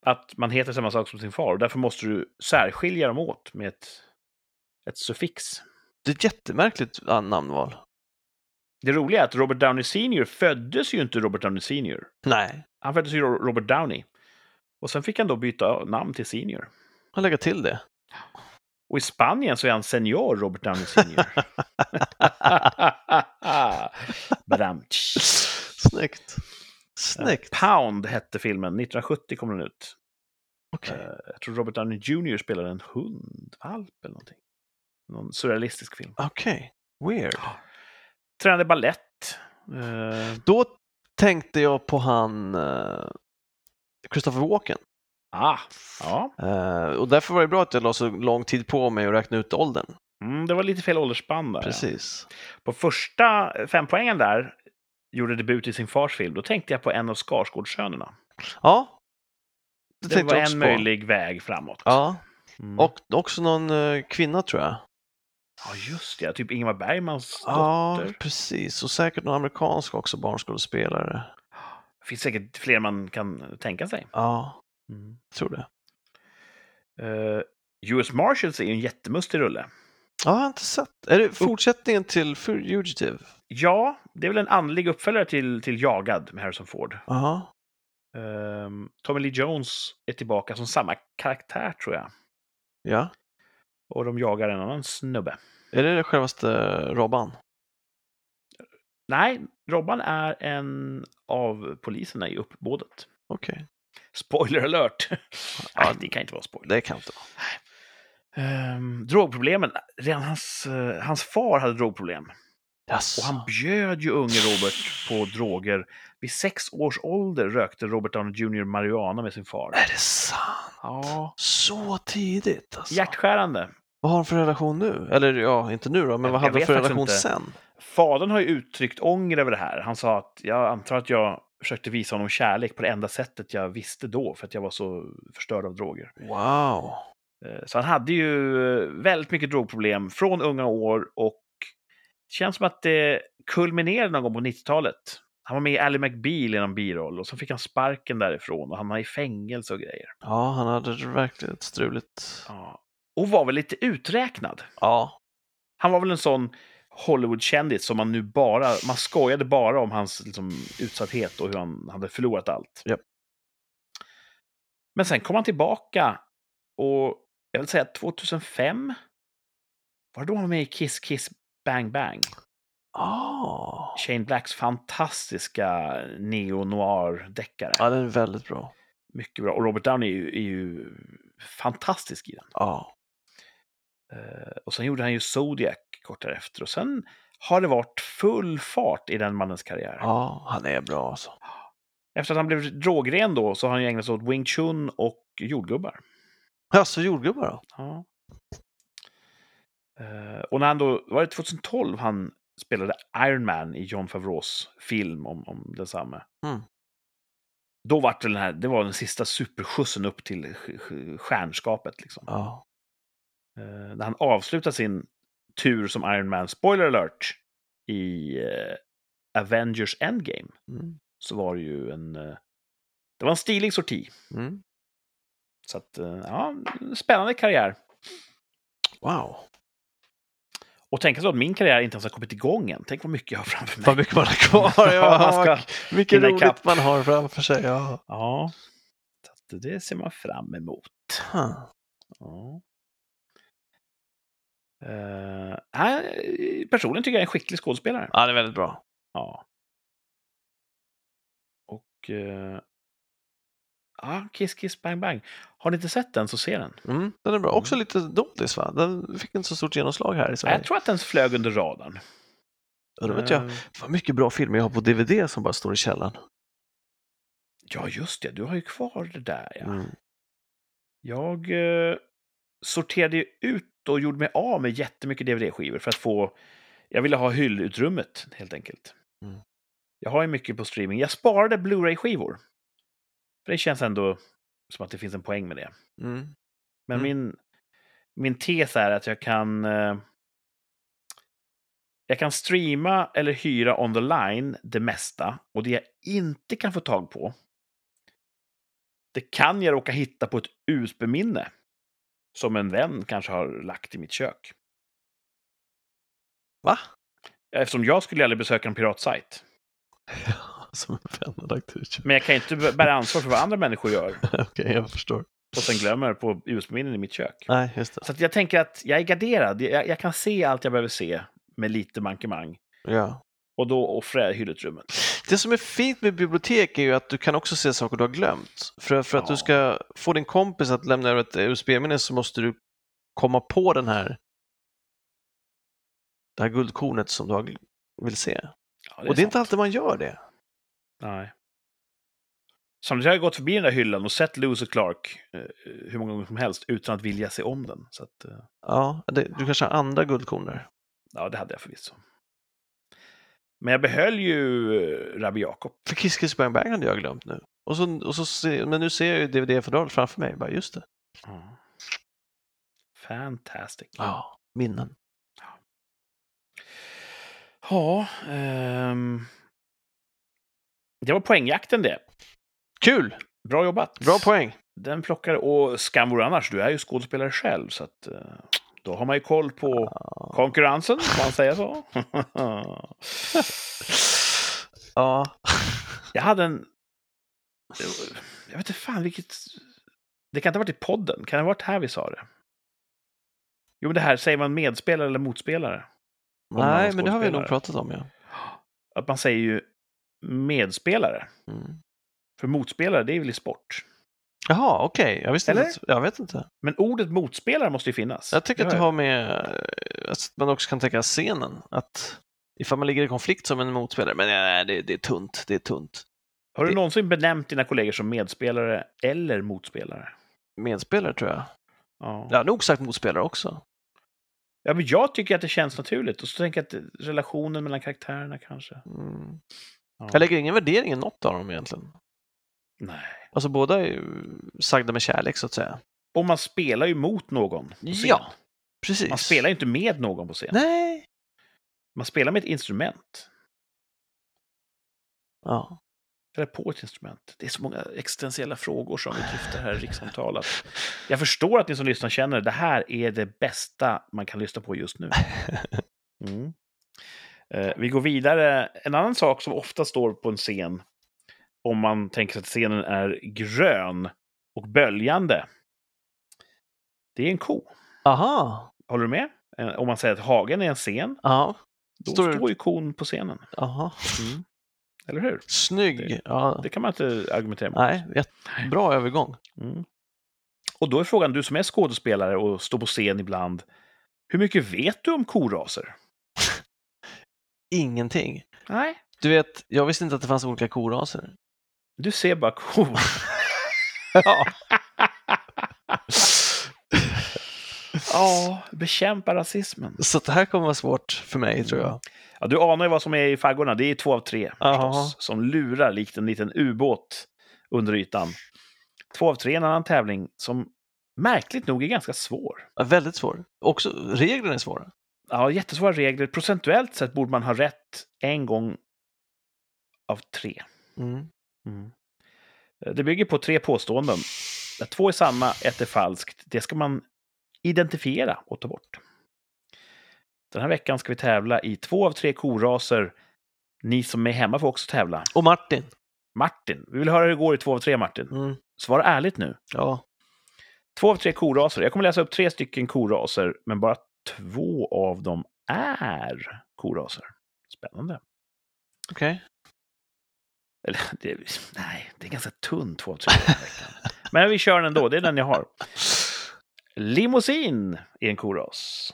Speaker 2: Att man heter samma sak som sin far och därför måste du särskilja dem åt med ett ett suffix.
Speaker 1: Det är ett jättemärkligt ah, namnval.
Speaker 2: Det roliga är att Robert Downey Sr föddes ju inte Robert Downey Sr.
Speaker 1: Nej,
Speaker 2: Han föddes ju Ro- Robert Downey. Och sen fick han då byta namn till Senior.
Speaker 1: han lägger till det.
Speaker 2: Och i Spanien så är han senior Robert Downey Sr. Badam.
Speaker 1: Snyggt. Snyggt.
Speaker 2: Pound hette filmen. 1970 kom den ut.
Speaker 1: Okej.
Speaker 2: Eh, Jag tror Robert Downey Jr spelade en hund, valp eller någonting. Någon surrealistisk film.
Speaker 1: Okej. Weird.
Speaker 2: Tränade ballett. Eh,
Speaker 1: Då tänkte jag på han eh, Christopher Walken.
Speaker 2: ah, ja.
Speaker 1: Eh, och därför var det bra att jag la så lång tid på mig att räkna ut åldern.
Speaker 2: Mm, det var lite fel åldersspann där. ja.
Speaker 1: Precis.
Speaker 2: På första fempoängen där, gjorde debut i sin fars film, då tänkte jag på en av Skarsgårdssönerna.
Speaker 1: Ja. Det,
Speaker 2: Det,
Speaker 1: tänkte jag
Speaker 2: var en
Speaker 1: också på.
Speaker 2: möjlig väg framåt.
Speaker 1: Ja.
Speaker 2: Mm.
Speaker 1: Och också någon eh, kvinna tror jag.
Speaker 2: ja, just det. Typ Ingmar Bergmans
Speaker 1: Ja,
Speaker 2: dotter.
Speaker 1: precis. Och säkert någon amerikansk också barnskådespelare.
Speaker 2: Det finns säkert fler man kan tänka sig. Mm.
Speaker 1: Ja, jag tror det.
Speaker 2: Eh, US Marshals är ju en jättemustig rulle.
Speaker 1: Ja, jag har inte sett. Är det fortsättningen till Fugitive?
Speaker 2: Ja, det är väl en andlig uppföljare till, till Jagad med Harrison Ford.
Speaker 1: Jaha.
Speaker 2: Ehm, Tommy Lee Jones är tillbaka som samma karaktär, tror jag.
Speaker 1: Ja.
Speaker 2: Och de jagar en annan snubbe.
Speaker 1: Är det det självaste Robban?
Speaker 2: Nej, Robban är en av poliserna i uppbådet.
Speaker 1: Okej,
Speaker 2: Spoiler alert! Nej, det kan inte vara spoiler.
Speaker 1: det kan inte vara.
Speaker 2: Ehm, drogproblemen. Redan hans, eh, hans far hade drogproblem.
Speaker 1: Jaså?
Speaker 2: Och han bjöd ju unge Robert på droger. Vid sex års ålder rökte Robert Downey Jr marijuana med sin far.
Speaker 1: Är det sant?
Speaker 2: Ja,
Speaker 1: Så tidigt alltså?
Speaker 2: hjärtskärande.
Speaker 1: Vad har han för relation nu? Eller ja, inte nu då, men vad
Speaker 2: Jag
Speaker 1: hade han
Speaker 2: vet
Speaker 1: för
Speaker 2: faktiskt
Speaker 1: relation
Speaker 2: inte.
Speaker 1: sen?
Speaker 2: Fadern har ju uttryckt ånger över det här. Han sa att jag antar att jag försökte visa honom kärlek på det enda sättet jag visste då, för att jag var så förstörd av droger.
Speaker 1: Wow.
Speaker 2: Eh, Så han hade ju eh, väldigt mycket drogproblem från unga år och det känns som att det kulminerade någon gång på 90-talet. Han var med i Ally McBeal i någon biroll och så fick han sparken därifrån och han var i fängelse och grejer.
Speaker 1: Ja, han hade det verkligen struligt.
Speaker 2: Ja. Och var väl lite uträknad.
Speaker 1: Ja,
Speaker 2: Han var väl en sån Hollywood-kändis som man nu bara, man skojade bara om hans liksom, utsatthet och hur han hade förlorat allt.
Speaker 1: Japp.
Speaker 2: Men sen kom han tillbaka och jag vill säga 2005 var det då han var med i Kiss Kiss Bang Bang.
Speaker 1: ah.
Speaker 2: Shane Blacks fantastiska neo-noir-deckare.
Speaker 1: ja den är väldigt bra.
Speaker 2: Mycket bra. Och Robert Downey är ju, är ju fantastisk i den.
Speaker 1: Ja.
Speaker 2: Eh, Och sen gjorde han ju Zodiac kort därefter. Och sen har det varit full fart i den mannens karriär.
Speaker 1: ja, han är bra alltså.
Speaker 2: Efter att han blev drogren då så har han ju ägnat sig åt Wing Chun och jordgubbar.
Speaker 1: Alltså jordgubbar då?
Speaker 2: Ja. Eh, Och när han då, var det 2012 han spelade Iron Man i John Favreaus film om, om densamme?
Speaker 1: Mm.
Speaker 2: Då var det den här, det var den sista superskjutsen upp till sk- sk- stjärnskapet liksom.
Speaker 1: Ja.
Speaker 2: Eh, när han avslutar sin tur som Iron Man, spoiler alert, i eh, Avengers Endgame
Speaker 1: Mm.
Speaker 2: så var det ju en... eh, det var en stilig sorti.
Speaker 1: Mm.
Speaker 2: Så att, eh, ja, spännande karriär.
Speaker 1: Wow.
Speaker 2: Och tänka sig att min karriär inte ens har kommit igång än. Tänk vad mycket jag har framför mig.
Speaker 1: Vad mycket man har kvar.
Speaker 2: man
Speaker 1: Ja,
Speaker 2: ska
Speaker 1: Mycket
Speaker 2: hinna
Speaker 1: roligt
Speaker 2: ikapp.
Speaker 1: man har framför sig. Ja.
Speaker 2: Ja, så att det ser man fram emot.
Speaker 1: Huh.
Speaker 2: Ja. Eh, han, personligen tycker jag är en skicklig skådespelare.
Speaker 1: Ja, det är väldigt bra.
Speaker 2: Ja. Och... eh, ja, Kiss Kiss Bang Bang. Har ni inte sett den så se den.
Speaker 1: Mm, den är bra. Också lite doldis va? Den fick inte så stort genomslag här i Sverige.
Speaker 2: Jag tror att den flög under radarn.
Speaker 1: Och då vet jag.
Speaker 2: Eh,
Speaker 1: Vad mycket bra filmer jag har på DVD som bara står i källaren.
Speaker 2: Ja, just det. Du har ju kvar det där. Ja.
Speaker 1: Mm.
Speaker 2: Jag eh, sorterade ju ut och gjorde mig av med jättemycket DVD-skivor för att få... Jag ville ha hyllutrymmet, helt enkelt.
Speaker 1: Mm.
Speaker 2: Jag har ju mycket på streaming. Jag sparade Blu-ray-skivor. För det känns ändå som att det finns en poäng med det.
Speaker 1: Mm.
Speaker 2: Men
Speaker 1: Mm.
Speaker 2: min, min tes är att jag kan... eh, Jag kan streama eller hyra on the line det mesta. Och det jag inte kan få tag på, det kan jag råka hitta på ett USB-minne. Som en vän kanske har lagt i mitt kök.
Speaker 1: Va?
Speaker 2: Eftersom jag skulle aldrig besöka en piratsajt.
Speaker 1: Som en vänlagt ut.
Speaker 2: Men jag kan ju inte bära ansvar för vad andra människor gör
Speaker 1: Okej, jag förstår.
Speaker 2: och sen glömmer på USB-minnen i mitt kök.
Speaker 1: Nej, just det.
Speaker 2: Så att jag tänker att jag är garderad. Jag, jag kan se allt jag behöver se med lite mankemang.
Speaker 1: Ja.
Speaker 2: Och då offrar jag hyllutrymmet.
Speaker 1: Det som är fint med bibliotek är ju att du kan också se saker du har glömt. För, för att
Speaker 2: Ja.
Speaker 1: du ska få din kompis att lämna över ett USB-minne så måste du komma på den här det här guldkornet som du har gl- vill se.
Speaker 2: Ja,
Speaker 1: och det är
Speaker 2: sant.
Speaker 1: inte alltid man gör det.
Speaker 2: Nej. Samtidigt har jag gått förbi den där hyllan och sett Lewis och Clark eh, hur många gånger som helst utan att vilja se om den. Så att, eh,
Speaker 1: Ja, det, du kanske har andra guldkorn där.
Speaker 2: ja, det hade jag förvisso. Men jag behöll ju eh, Rabbi Jakob.
Speaker 1: För Kiss Kiss Bang Bang hade jag glömt nu. Och så, och så se, men nu ser jag ju DVD-fodralet framför mig. Bara, just det.
Speaker 2: Fantastic.
Speaker 1: Ja, minnen.
Speaker 2: Ja, ehm. Det var poängjakten det.
Speaker 1: Kul!
Speaker 2: Bra jobbat.
Speaker 1: Bra poäng.
Speaker 2: Den plockar, och skam vore annars, du är ju skådespelare själv, så att, eh, då har man ju koll på konkurrensen, får man säga så?
Speaker 1: Ja,
Speaker 2: jag hade en... Jag vet inte fan vilket... Det kan inte ha varit i podden, kan det ha varit här vi sa det? Jo, men det här, säger man medspelare eller motspelare? Om man är
Speaker 1: nej, men det har vi nog
Speaker 2: skådespelare.
Speaker 1: pratat om. Ja.
Speaker 2: Att man säger ju medspelare,
Speaker 1: Mm.
Speaker 2: för motspelare, det är väl i sport?
Speaker 1: Jaha, okej. Jag visste
Speaker 2: Eller?
Speaker 1: inte. att- Jag vet inte.
Speaker 2: Men ordet motspelare måste ju finnas.
Speaker 1: Jag tycker
Speaker 2: Det
Speaker 1: att det
Speaker 2: har
Speaker 1: har med eh, att man också kan tänka scenen. Att ifall man ligger i konflikt som en motspelare, men nej, det, det är tunt, det är tunt.
Speaker 2: Har du
Speaker 1: det-
Speaker 2: någonsin benämnt dina kollegor som medspelare eller motspelare?
Speaker 1: Medspelare tror jag.
Speaker 2: Ja.
Speaker 1: Jag har nog sagt motspelare också.
Speaker 2: Ja, men jag tycker att det känns naturligt. Och så tänker jag att relationen mellan karaktärerna kanske.
Speaker 1: Mm.
Speaker 2: Ja.
Speaker 1: Jag lägger ingen värdering i något av dem egentligen.
Speaker 2: Nej.
Speaker 1: Alltså båda är ju sagda med kärlek så att säga.
Speaker 2: Och man spelar ju mot någon. på scen.
Speaker 1: Ja, precis.
Speaker 2: Man spelar ju inte med någon på scen.
Speaker 1: Nej.
Speaker 2: Man spelar med ett instrument.
Speaker 1: Ja.
Speaker 2: Eller på ett instrument. Det är så många existentiella frågor som vi dryftar här i rikssamtalet. Jag förstår att ni som lyssnar känner det här är det bästa man kan lyssna på just nu. Mm. Eh, vi går vidare. En annan sak som ofta står på en scen, om man tänker sig att scenen är grön och böljande, det är en ko.
Speaker 1: Aha.
Speaker 2: Håller du med? Eh, om man säger att hagen är en scen,
Speaker 1: Ja.
Speaker 2: då
Speaker 1: Står Mm.
Speaker 2: står,
Speaker 1: det-
Speaker 2: ju kon på scenen.
Speaker 1: Aha.
Speaker 2: Eller hur?
Speaker 1: Snygg.
Speaker 2: Mm. Det-
Speaker 1: Ja.
Speaker 2: Det kan man inte argumentera emot.
Speaker 1: Nej, jättebra övergång.
Speaker 2: Mm. Och då är frågan, du som är skådespelare och står på scen ibland, hur mycket vet du om koraser?
Speaker 1: Ingenting.
Speaker 2: Nej.
Speaker 1: Du vet, jag visste inte att det fanns olika koraser.
Speaker 2: Du ser bara kor.
Speaker 1: Ja.
Speaker 2: Ja, bekämpa rasismen.
Speaker 1: Så det här kommer vara svårt för mig tror jag.
Speaker 2: Ja, du anar ju vad som är i faggorna. Det är två av tre
Speaker 1: Jaha.
Speaker 2: förstås, som lurar likt en liten ubåt under ytan. Två av tre är en annan tävling som märkligt nog är ganska svår.
Speaker 1: Ja, Väldigt svår. Också reglerna är svåra.
Speaker 2: Ja, jättesvåra regler. Procentuellt sett borde man ha rätt en gång av tre.
Speaker 1: Mm.
Speaker 2: Eh, Det bygger på tre påståenden. Att två är sanna, ett är falskt. Det ska man identifiera och ta bort. Den här veckan ska vi tävla i två av tre koraser. Ni som är hemma får också tävla.
Speaker 1: Och Martin.
Speaker 2: Martin, vi vill höra hur det går i två av tre, Martin.
Speaker 1: Mm.
Speaker 2: Svara ärligt nu.
Speaker 1: Ja.
Speaker 2: Två av tre koraser. Jag kommer läsa upp tre stycken koraser, men bara två av dem är koraser. Spännande.
Speaker 1: Okej.
Speaker 2: Eller, det, är- nej, det är ganska tunn två av tre den här veckan. Men vi kör den ändå, det är den jag har. Limousin är en koras.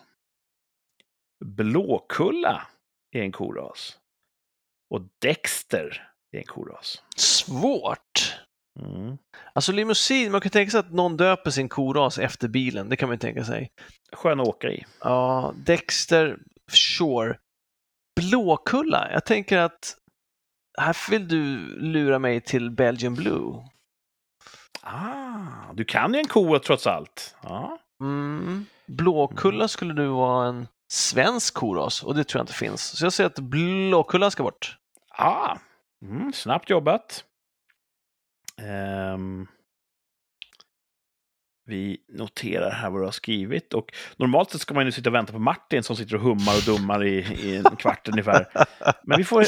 Speaker 2: Blåkulla är en koras. Och Dexter är en koras.
Speaker 1: Svårt.
Speaker 2: Mm.
Speaker 1: Alltså limousin, man kan tänka sig att någon döper sin koras efter bilen. Det kan man ju tänka sig.
Speaker 2: Skön att åka i.
Speaker 1: Ja, Dexter, sure. Blåkulla, jag tänker att här vill du lura mig till Belgian Blue.
Speaker 2: Ah, du kan ju en ko trots allt. Ja.
Speaker 1: Mm. Blåkulla skulle du vara en svensk koras och det tror jag inte finns. Så jag säger att Blåkulla ska bort.
Speaker 2: Ah. Mm, snabbt jobbat. Ehm. Vi noterar här vad du har skrivit. Och normalt sett ska man ju sitta och vänta på Martin som sitter och hummar och dummar i, i en kvart ungefär. Men vi får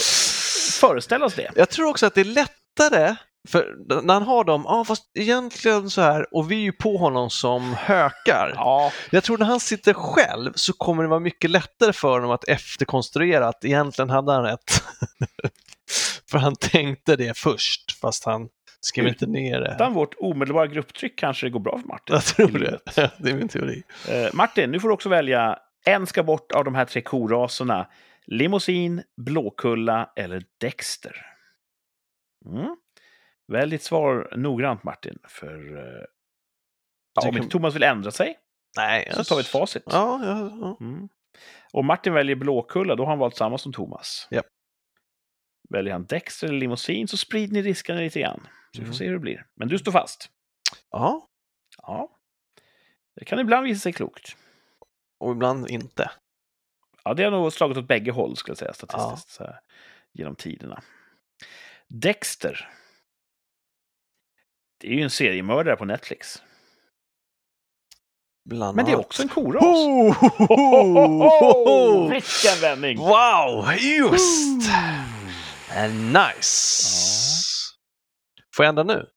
Speaker 2: föreställa oss det.
Speaker 1: Jag tror också att det är lättare för när han har dem, ja ah, fast egentligen så här, och vi är ju på honom som hökar.
Speaker 2: Ja,
Speaker 1: Jag tror när han sitter själv så kommer det vara mycket lättare för honom att efterkonstruera att egentligen hade han rätt. för han tänkte det först, fast han skrev inte ner det.
Speaker 2: utan vårt omedelbara grupptryck kanske det går bra för Martin.
Speaker 1: Jag tror det. Det är min teori.
Speaker 2: Eh, Martin, nu får du också välja. En ska bort av de här tre koraserna. Limousin, Blåkulla eller Dexter. Mm. Välj ditt svar noggrant, Martin. För eh, ja,
Speaker 1: Det
Speaker 2: om
Speaker 1: kan-
Speaker 2: inte Thomas vill ändra sig
Speaker 1: Nej,
Speaker 2: så tar vi ett facit.
Speaker 1: Ja, ja, ja.
Speaker 2: Mm. Om Martin väljer Blåkulla, då har han valt samma som Thomas.
Speaker 1: Japp.
Speaker 2: Väljer han Dexter eller Limousin så sprider ni riskerna lite grann. Så vi
Speaker 1: Mm.
Speaker 2: får se hur det blir. Men du står fast.
Speaker 1: ja.
Speaker 2: Ja. Det kan ibland visa sig klokt.
Speaker 1: Och ibland inte.
Speaker 2: Ja, det har nog slagit åt bägge håll skulle jag säga statistiskt så här, genom tiderna. Dexter. Det är ju en seriemördare på Netflix.
Speaker 1: Bland
Speaker 2: Men det är
Speaker 1: annat.
Speaker 2: också en koras.
Speaker 1: Ho, ho, ho, ho, ho.
Speaker 2: Vilken vändning! Mm.
Speaker 1: Wow, just! Eh, Nice! Får jag ändra nu?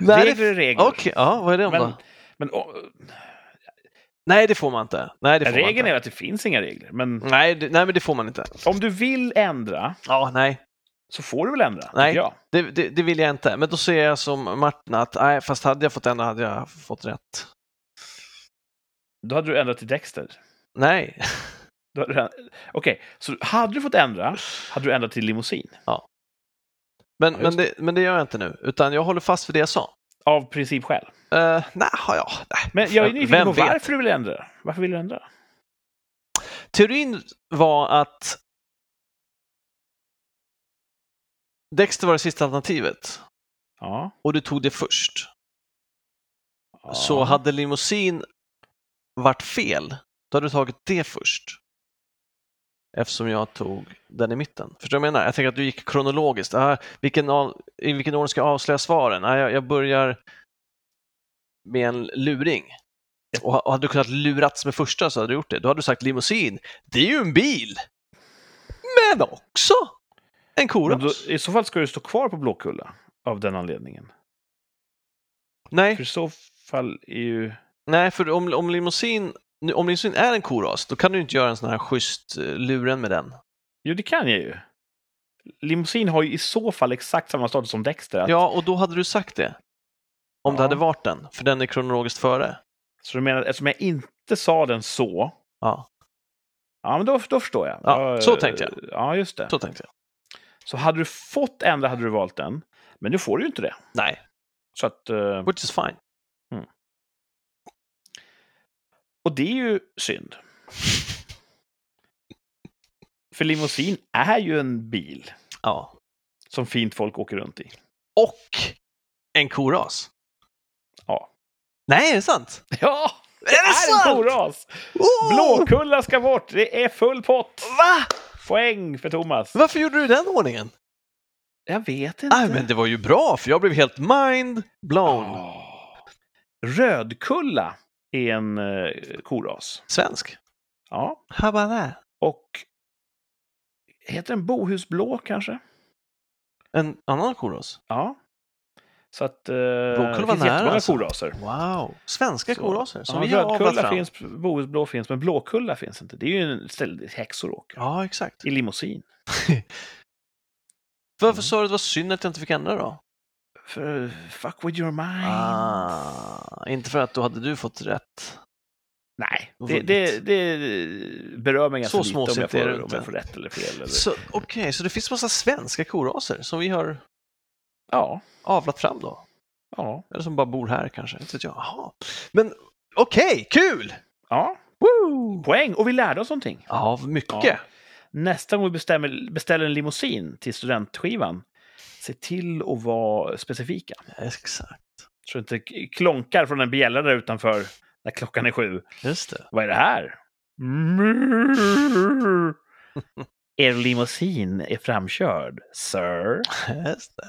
Speaker 1: Nej, det...
Speaker 2: Regler är regler.
Speaker 1: Okej, ja, vad är det om
Speaker 2: Men,
Speaker 1: då?
Speaker 2: men och,
Speaker 1: Nej, det får man inte. Nej, det får man
Speaker 2: regeln
Speaker 1: inte. Mm.
Speaker 2: är att det finns inga regler. Men
Speaker 1: Nej, det, nej, men det får man inte.
Speaker 2: om du vill ändra
Speaker 1: Ja, nej,
Speaker 2: så får du väl ändra? tycker
Speaker 1: Nej.
Speaker 2: Jag.
Speaker 1: det, det, det vill jag inte. Men då säger jag som Martin att nej, fast hade jag fått ändra hade jag fått rätt.
Speaker 2: Då hade du ändrat till Dexter.
Speaker 1: Nej,
Speaker 2: Då hade du änd- Okej, så hade du fått ändra hade du ändrat till limousin.
Speaker 1: men,
Speaker 2: Ja,
Speaker 1: men,
Speaker 2: just
Speaker 1: det, men det gör jag inte nu, utan jag håller fast vid det jag sa.
Speaker 2: Av principskäl.
Speaker 1: Uh, nej, ja, nej.
Speaker 2: Men jag är nyfiken
Speaker 1: Vem
Speaker 2: på
Speaker 1: vet?
Speaker 2: varför du vill ändra. Varför vill du ändra?
Speaker 1: Teorin var att Dexter var det sista alternativet
Speaker 2: Ja.
Speaker 1: och du tog det först.
Speaker 2: ja.
Speaker 1: Så hade limousin varit fel, då hade du tagit det först. Eftersom jag tog den i mitten. Förstår du vad jag menar? Jag tänker att du gick kronologiskt. Ah, vilken av, I vilken ordning ska jag avslöja svaren? Ah, jag, jag börjar med en luring. Och, och hade du kunnat lurats med första så hade du gjort det. Då hade du sagt limousin. Det är ju en bil! Men också en koras.
Speaker 2: Men då, I så fall ska du stå kvar på Blåkulla av den anledningen.
Speaker 1: Nej,
Speaker 2: För i så fall är ju...
Speaker 1: Nej, för om, om, limousin, nu- om limousin är en koras, då kan du inte göra en sån här schysst eh, luren med den.
Speaker 2: Jo, det kan jag ju. Limousin har ju i så fall exakt samma status som Dexter. att-
Speaker 1: Ja, och då hade du sagt det. Om
Speaker 2: Ja.
Speaker 1: det hade varit den, för den är kronologiskt före.
Speaker 2: Så du menar, eftersom jag inte sa den så...
Speaker 1: Ja,
Speaker 2: Ja, men då, då förstår jag.
Speaker 1: Ja,
Speaker 2: Jag-
Speaker 1: så tänkte jag.
Speaker 2: Ja, just det. Så.
Speaker 1: så tänkte jag.
Speaker 2: hade du fått ändra hade du valt den. Men nu får du ju inte det.
Speaker 1: Nej,
Speaker 2: Så att, eh,
Speaker 1: which is fine.
Speaker 2: och det är ju synd. För limousin är ju en bil
Speaker 1: Ja.
Speaker 2: som fint folk åker runt i.
Speaker 1: Och en koras.
Speaker 2: Ja.
Speaker 1: Nej, är det sant?
Speaker 2: Ja!
Speaker 1: Är det,
Speaker 2: är en
Speaker 1: sant?
Speaker 2: koras!
Speaker 1: Oh!
Speaker 2: Blåkulla ska bort! Det är full pott!
Speaker 1: Va?
Speaker 2: Poäng för Thomas.
Speaker 1: Varför gjorde du den ordningen?
Speaker 2: Jag vet inte.
Speaker 1: Nej, men det var ju bra, för jag blev helt mind blown.
Speaker 2: Åh. Rödkulla är en eh, koras.
Speaker 1: Svensk.
Speaker 2: Ja.
Speaker 1: How about that?
Speaker 2: Och heter den Bohusblå kanske?
Speaker 1: En annan koras?
Speaker 2: Ja. Så att eh,
Speaker 1: var
Speaker 2: det finns
Speaker 1: nära,
Speaker 2: jättemånga
Speaker 1: alltså.
Speaker 2: koraser.
Speaker 1: Wow. Svenska
Speaker 2: Så.
Speaker 1: koraser som
Speaker 2: Ja,
Speaker 1: vi har avlat
Speaker 2: rödkulla
Speaker 1: fram.
Speaker 2: finns, Bohusblå finns, men Blåkulla finns inte. Det är ju en ställe dit häxor åker.
Speaker 1: Ja, exakt.
Speaker 2: I limousin.
Speaker 1: Varför
Speaker 2: Mm.
Speaker 1: sa du att det var synd att jag inte fick ändra då?
Speaker 2: För, fuck with your mind.
Speaker 1: Ah, inte för att då hade du fått rätt.
Speaker 2: Nej,
Speaker 1: Och
Speaker 2: det, det,
Speaker 1: vunnit.
Speaker 2: det berör mig ganska
Speaker 1: Så
Speaker 2: lite om
Speaker 1: småsint
Speaker 2: jag,
Speaker 1: är det
Speaker 2: får, om
Speaker 1: inte.
Speaker 2: jag får rätt eller fel. Eller...
Speaker 1: Så, Okej, så det finns massa svenska koraser som vi har
Speaker 2: Ja,
Speaker 1: avlat fram då?
Speaker 2: ja,
Speaker 1: Eller som bara bor här kanske? Inte vet jag. Jaha. Men okej, kul!
Speaker 2: ja.
Speaker 1: Woo!
Speaker 2: Poäng! Och vi lärde oss någonting.
Speaker 1: Ja, mycket.
Speaker 2: Ja. Nästa gång vi bestämmer, beställer en limousin till studentskivan, se till att vara specifika.
Speaker 1: Exakt.
Speaker 2: Så det inte k- klonkar från en bjällra där utanför när klockan är sju.
Speaker 1: Just det.
Speaker 2: Vad är det här? Er limousin är framkörd, sir.
Speaker 1: Just det.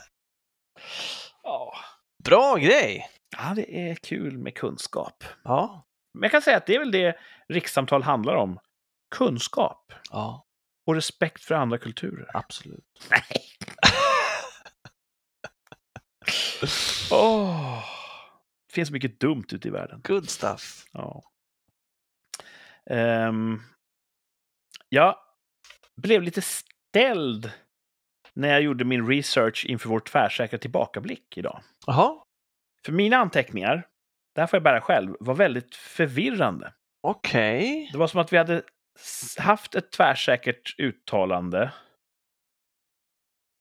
Speaker 2: Ja.
Speaker 1: Bra grej!
Speaker 2: ja, det är kul med kunskap.
Speaker 1: Ja.
Speaker 2: Men jag kan säga att det är väl det rikssamtal handlar om. Kunskap
Speaker 1: Ja,
Speaker 2: och respekt för andra kulturer.
Speaker 1: absolut.
Speaker 2: Åh! Det finns mycket dumt ute i världen.
Speaker 1: Good stuff.
Speaker 2: Ja. Ehm, jag blev lite ställd när jag gjorde min research inför vår tvärsäkra tillbakablick idag.
Speaker 1: Jaha,
Speaker 2: För mina anteckningar, det här får jag bära själv, var väldigt förvirrande.
Speaker 1: okej.
Speaker 2: Det var som att vi hade s- haft ett tvärsäkert uttalande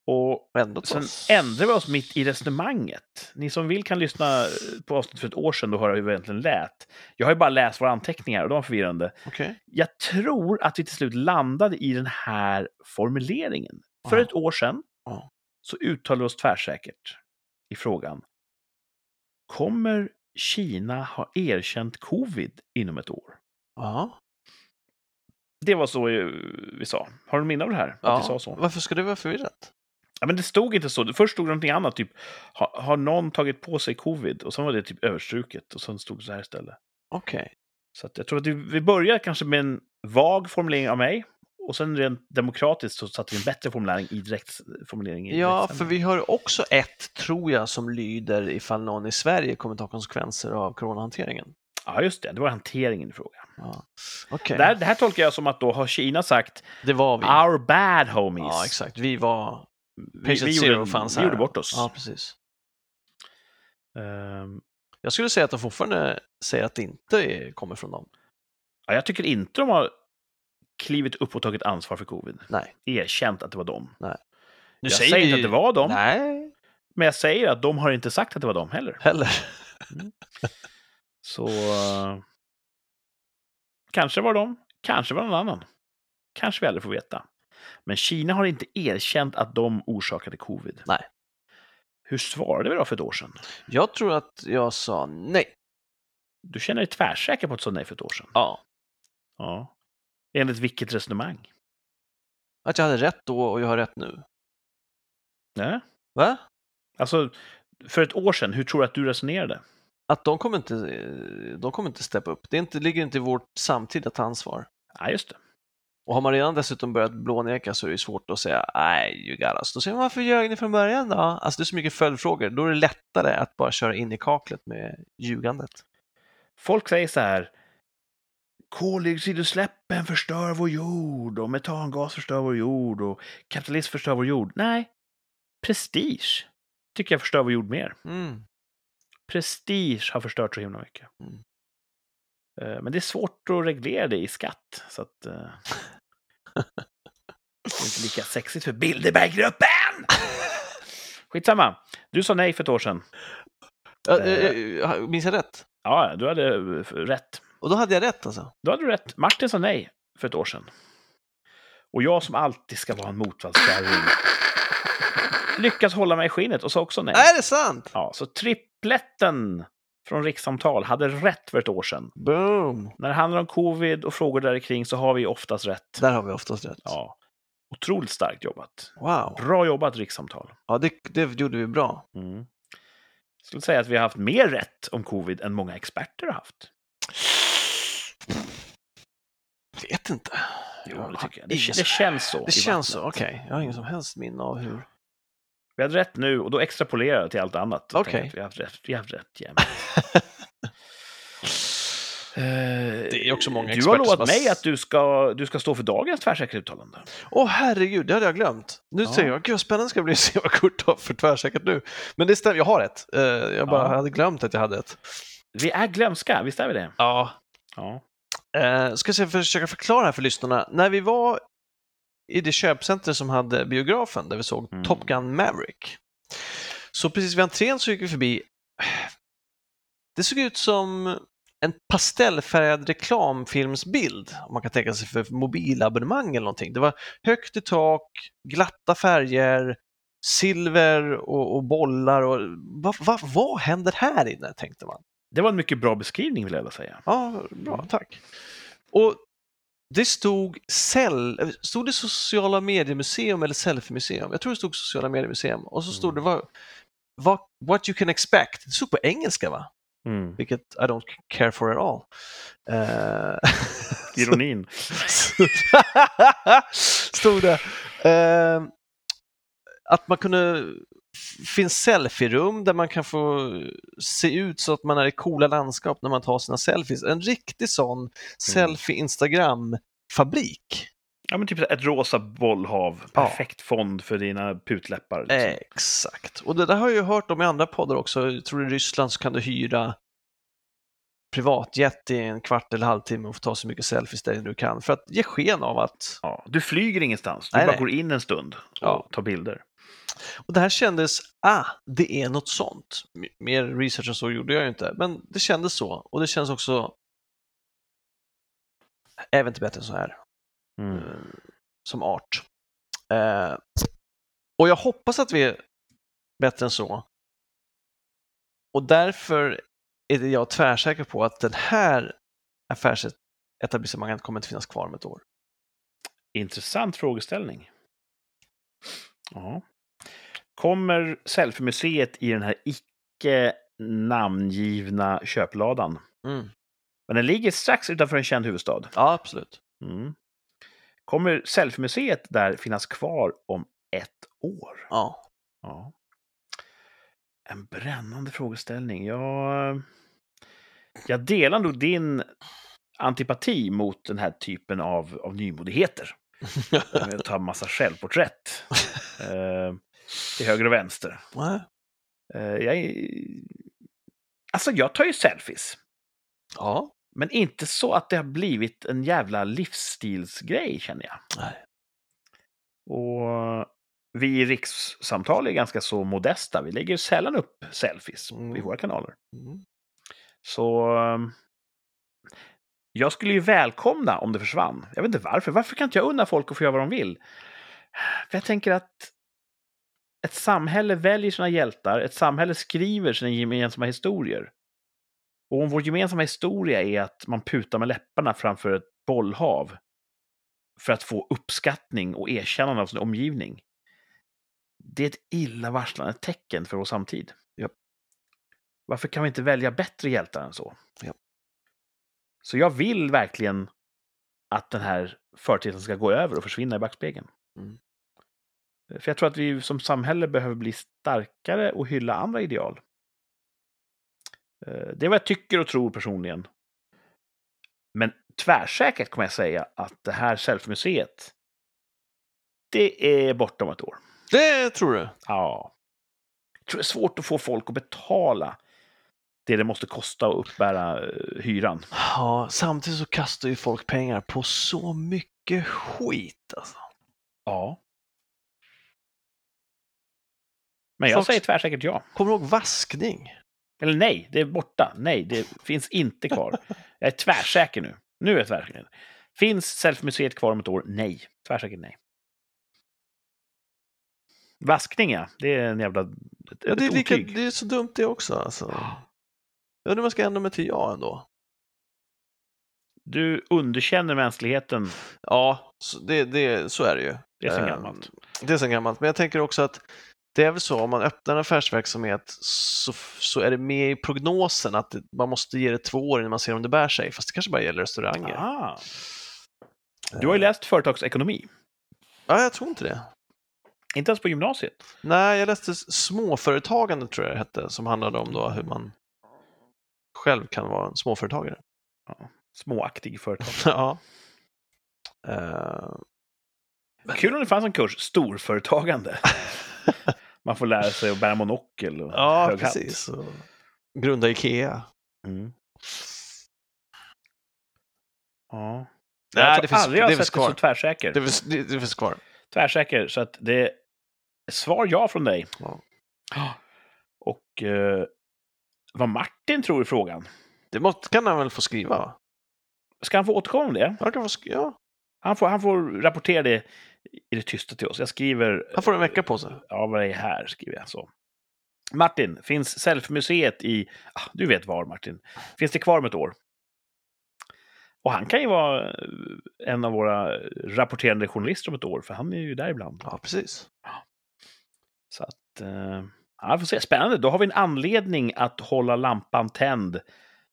Speaker 2: och
Speaker 1: Och Ändå
Speaker 2: sen
Speaker 1: trots-
Speaker 2: ändrade vi oss mitt i resonemanget. Ni som vill kan lyssna eh, på avsnittet för ett år sedan och höra hur vi egentligen lät. Jag har ju bara läst våra anteckningar och de var förvirrande.
Speaker 1: Okej.
Speaker 2: Jag tror att vi till slut landade i den här formuleringen. För
Speaker 1: Ja.
Speaker 2: ett år sedan
Speaker 1: Ja.
Speaker 2: så uttalade vi oss tvärsäkert i frågan. Kommer Kina ha erkänt covid inom ett år?
Speaker 1: Ja.
Speaker 2: Det var så eh, vi sa. Har du minne av det här? Att
Speaker 1: ja.
Speaker 2: vi sa så?
Speaker 1: Varför skulle det vara förvirrat?
Speaker 2: Ja, men det stod inte så. Först stod det någonting annat, typ har, har någon tagit på sig covid? Och sen var det typ överstruket och sen stod det så här istället.
Speaker 1: Okej.
Speaker 2: Så att jag tror att vi, vi börjar kanske med en vag formulering av mig. Och sen rent demokratiskt så satte vi en bättre formulering i direkt eh, formulering. I
Speaker 1: Ja,
Speaker 2: direktsändning.
Speaker 1: för vi har också ett, tror jag, som lyder ifall någon i Sverige kommer ta konsekvenser av coronahanteringen.
Speaker 2: Ja, just det. Det var hanteringen i frågan.
Speaker 1: Ja. Okej,
Speaker 2: Det här, det här tolkar jag som att då har Kina sagt
Speaker 1: det var vi.
Speaker 2: “Our bad homies”.
Speaker 1: Ja, exakt. Vi var...
Speaker 2: Ah, vi,
Speaker 1: Patient
Speaker 2: vi,
Speaker 1: Zero
Speaker 2: gjorde,
Speaker 1: fanns
Speaker 2: vi
Speaker 1: här.
Speaker 2: gjorde bort oss.
Speaker 1: Ja, precis.
Speaker 2: Ehm,
Speaker 1: Jag skulle säga att de fortfarande säger att det inte är, kommer från dem.
Speaker 2: Ja, jag tycker inte de har klivit upp och tagit ansvar för covid.
Speaker 1: Nej.
Speaker 2: Erkänt att det var dem.
Speaker 1: Nu
Speaker 2: jag säger
Speaker 1: vi
Speaker 2: inte att det var dem,
Speaker 1: Nej,
Speaker 2: men jag säger att de har inte sagt att det var dem heller.
Speaker 1: heller.
Speaker 2: Så... eh, Kanske var de, kanske var någon annan. Kanske vi aldrig får veta. Men Kina har inte erkänt att de orsakade covid.
Speaker 1: Nej.
Speaker 2: Hur svarade vi då för ett år sedan?
Speaker 1: Jag tror att jag sa nej.
Speaker 2: Du känner dig tvärsäker på att du sa nej för ett år sedan?
Speaker 1: Ja.
Speaker 2: Ja. Enligt vilket resonemang?
Speaker 1: Att jag hade rätt då och jag har rätt nu.
Speaker 2: Nej.
Speaker 1: Va?
Speaker 2: Alltså, för ett år sedan, hur tror du att du resonerade?
Speaker 1: Att de kommer inte, eh, de kommer inte steppa upp. Det är inte, ligger inte i vårt samtida ansvar.
Speaker 2: Ja, just det.
Speaker 1: Och har man redan dessutom börjat blåneka så är det ju svårt att säga nej, you got us. Då säger man varför ljög ni från början då? Alltså det är så mycket följdfrågor. Då är det lättare att bara köra in i kaklet med ljugandet.
Speaker 2: Folk säger så här. Koldioxidutsläppen förstör vår jord och metangas förstör vår jord och kapitalism förstör vår jord. Nej, prestige tycker jag förstör vår jord mer.
Speaker 1: Mm.
Speaker 2: Prestige har förstört så himla mycket.
Speaker 1: Mm.
Speaker 2: Eh, Men det är svårt att reglera det i skatt. Så att, eh, det är inte lika sexigt för Bilderberggruppen! Skitsamma. Du sa nej för ett år sedan.
Speaker 1: Ä- ä- ä- eh, Minns jag rätt?
Speaker 2: Ja, du hade eh, rätt.
Speaker 1: Och då hade jag rätt alltså?
Speaker 2: Då hade du rätt. Martin sa nej för ett år sedan. Och jag som alltid ska vara en motvallskärring lyckas hålla mig i skinnet och sa också nej.
Speaker 1: Är det sant?
Speaker 2: Ja, så tripletten från Rikssamtal hade rätt för ett år sedan.
Speaker 1: Boom!
Speaker 2: När det handlar om covid och frågor där kring så har vi oftast rätt.
Speaker 1: Där har vi oftast rätt.
Speaker 2: Ja. Otroligt starkt jobbat.
Speaker 1: Wow.
Speaker 2: Bra jobbat Rikssamtal.
Speaker 1: Ja, det, det gjorde vi bra.
Speaker 2: Mm. Jag skulle säga att vi har haft mer rätt om covid än många experter har haft.
Speaker 1: Vet inte.
Speaker 2: Jo, det tycker jag. Det,
Speaker 1: Ingen
Speaker 2: det
Speaker 1: som-
Speaker 2: känns så.
Speaker 1: Det
Speaker 2: i
Speaker 1: känns så,
Speaker 2: vattnet.
Speaker 1: okej. Jag har ingen som helst minne av hur...
Speaker 2: Vi hade rätt nu och då extrapolerar jag till allt annat. Jag
Speaker 1: Okej.
Speaker 2: tänker att Vi har haft rätt, vi har haft rätt jämt. det
Speaker 1: är också många
Speaker 2: Eh, Du
Speaker 1: experter som
Speaker 2: har lovat
Speaker 1: har-
Speaker 2: mig att du ska, du ska stå för dagens tvärsäkra uttalande.
Speaker 1: Åh herregud, det hade jag glömt. Nu
Speaker 2: Ja.
Speaker 1: säger jag, gud vad spännande ska det bli att se vad Kurt har för tvärsäkert nu. Men det stämmer, jag har ett. Eh, Jag bara
Speaker 2: Ja.
Speaker 1: hade glömt att jag hade ett.
Speaker 2: Vi är glömska, visst är vi det?
Speaker 1: Ja.
Speaker 2: Ja.
Speaker 1: Eh, Ska jag försöka förklara här för lyssnarna. När vi var i det köpcenter som hade biografen där vi såg
Speaker 2: Mm.
Speaker 1: Top Gun Maverick. Så precis vid entrén så gick vi förbi. Det såg ut som en pastellfärgad reklamfilmsbild, om man kan tänka sig för mobilabonnemang eller någonting. Det var högt i tak, glatta färger, silver och, och bollar. Och, vad, vad, vad händer här inne, tänkte man.
Speaker 2: Det var en mycket bra beskrivning vill jag säga.
Speaker 1: Ja, bra, tack. Och det stod cell, eh, stod det sociala mediemuseum eller selfiemuseum? Jag tror det stod sociala mediemuseum. Och så stod det var What, what you can expect. Det stod på engelska va?
Speaker 2: Mm.
Speaker 1: Vilket I don't care for at all. Eh,
Speaker 2: Ironin.
Speaker 1: stod det. Eh, att man kunde... finns selfie-rum där man kan få se ut så att man är i coola landskap när man tar sina selfies. En riktig sån selfie-instagram-fabrik.
Speaker 2: Ja, men typ ett rosa bollhav.
Speaker 1: Ja. Eh.
Speaker 2: Perfekt fond för dina putläppar. Liksom.
Speaker 1: Exakt. Och det där har jag ju hört om i andra poddar också. Jag tror i Ryssland så kan du hyra privatjet i en kvart eller halvtimme och få ta så mycket selfies där du kan för att ge sken av att
Speaker 2: Ja. Du flyger ingenstans. Du
Speaker 1: Nej,
Speaker 2: bara
Speaker 1: nej.
Speaker 2: går in en stund och
Speaker 1: Ja.
Speaker 2: tar bilder.
Speaker 1: Och det här kändes, ah, det är något sånt. M- Mer research än så gjorde jag ju inte, men det kändes så. Och det känns också, jag vet inte bättre än så här,
Speaker 2: Mm.
Speaker 1: eh, som art. Eh, och jag hoppas att vi är bättre än så. Och därför är det jag tvärsäker på att den här affärsetablissemanget kommer inte finnas kvar om ett år.
Speaker 2: Intressant frågeställning. Ja. Kommer Selfiemuseet i den här icke namngivna köpladan?
Speaker 1: Mm.
Speaker 2: Men den ligger strax utanför en känd huvudstad.
Speaker 1: Ja, absolut.
Speaker 2: Mm. Kommer Selfiemuseet där finnas kvar om ett år?
Speaker 1: Ja.
Speaker 2: Ja. En brännande frågeställning. Jag, eh, jag delar nog din antipati mot den här typen av, av nymodigheter. Eh, Jag tar en massa självporträtt eh, till höger och vänster.
Speaker 1: Nej.
Speaker 2: Eh, jag, är... Alltså, jag tar ju selfies.
Speaker 1: Ja.
Speaker 2: Men inte så att det har blivit en jävla livsstilsgrej, känner jag.
Speaker 1: Nej.
Speaker 2: Och vi i rikssamtal är ganska så modesta. Vi lägger sällan upp selfies
Speaker 1: Mm.
Speaker 2: i våra kanaler.
Speaker 1: Mm.
Speaker 2: Så... eh, Jag skulle ju välkomna om det försvann. Jag vet inte varför. Varför kan inte jag unna folk att få göra vad de vill? För jag tänker att ett samhälle väljer sina hjältar, ett samhälle skriver sina gemensamma historier. Och om vår gemensamma historia är att man putar med läpparna framför ett bollhav för att få uppskattning och erkännande av sin omgivning. Det är ett illavarslande tecken för vår samtid.
Speaker 1: Japp.
Speaker 2: Varför kan vi inte välja bättre hjältar än så?
Speaker 1: Japp.
Speaker 2: Så jag vill verkligen att den här företeelsen ska gå över och försvinna i backspegeln. Eh,
Speaker 1: Mm.
Speaker 2: För jag tror att vi som samhälle behöver bli starkare och hylla andra ideal. Eh, Det är vad jag tycker och tror personligen. Men tvärsäkert kommer jag säga att det här selfiemuseet, det är bortom ett år.
Speaker 1: Det tror du?
Speaker 2: Ja. Jag tror det är svårt att få folk att betala det det måste kosta att uppbära eh, hyran.
Speaker 1: Ja, samtidigt så kastar ju folk pengar på så mycket skit. Alltså.
Speaker 2: Ja. Men jag
Speaker 1: Folk-
Speaker 2: säger tvärsäkert ja.
Speaker 1: Kommer du ihåg vaskning?
Speaker 2: Eller nej, det är borta. Nej, det finns inte kvar. Jag är tvärsäker nu. Nu är jag tvärsäker. Finns Selfmuseet kvar om ett år? Nej. Tvärsäkert nej. Vaskning, ja. Det är en jävla... Ett,
Speaker 1: Ja, det, är
Speaker 2: ett
Speaker 1: lika,
Speaker 2: otyg.
Speaker 1: det är så dumt det också. Alltså. Jag undrar vad jag ska ändra mig till ja ändå.
Speaker 2: Du underkänner mänskligheten.
Speaker 1: Ja, så, det, det, så är det ju.
Speaker 2: Det är så
Speaker 1: Ehm,
Speaker 2: gammalt.
Speaker 1: Det är så gammalt. Men jag tänker också att det är väl så om man öppnar en affärsverksamhet så, så är det med i prognosen att det, man måste ge det två år innan man ser om det bär sig. Fast det kanske bara gäller restauranger.
Speaker 2: Ah. Du
Speaker 1: Eh.
Speaker 2: har ju läst företagsekonomi.
Speaker 1: Ja, jag tror inte det.
Speaker 2: Inte ens på gymnasiet.
Speaker 1: Nej, jag läste s- småföretagande tror jag det hette, som handlade om då hur man själv kan vara en småföretagare.
Speaker 2: Småaktig företag.
Speaker 1: ja. Eh,
Speaker 2: Kul om det fanns en kurs, storföretagande. Man får lära sig att bära monokel och
Speaker 1: ja,
Speaker 2: hög hatt.
Speaker 1: precis. Och grunda Ikea.
Speaker 2: Mm. Ja.
Speaker 1: Nej,
Speaker 2: jag tror
Speaker 1: det finns-
Speaker 2: aldrig jag
Speaker 1: det
Speaker 2: har
Speaker 1: finns
Speaker 2: sett dig
Speaker 1: kvar.
Speaker 2: så tvärsäker.
Speaker 1: Det finns, det, det finns kvar.
Speaker 2: Tvärsäker, så att det är svar ja från dig.
Speaker 1: Ja.
Speaker 2: Och eh, vad Martin tror i frågan.
Speaker 1: Det måste, kan han väl få skriva? va?
Speaker 2: Ska han få återkomma om det?
Speaker 1: Han, kan få, sk- ja,
Speaker 2: Han får, han får rapportera det i det tysta till oss. Jag skriver...
Speaker 1: han får en vecka på sig.
Speaker 2: Ja, vad är här? Skriver jag så. Martin, finns Selfmuseet i... Ah, du vet var, Martin. Finns det kvar om ett år? Och han kan ju vara eh, en av våra rapporterande journalister om ett år, för han är ju där ibland.
Speaker 1: Ja, precis.
Speaker 2: Att, eh, Ja, vi får se. Spännande. Då har vi en anledning att hålla lampan tänd,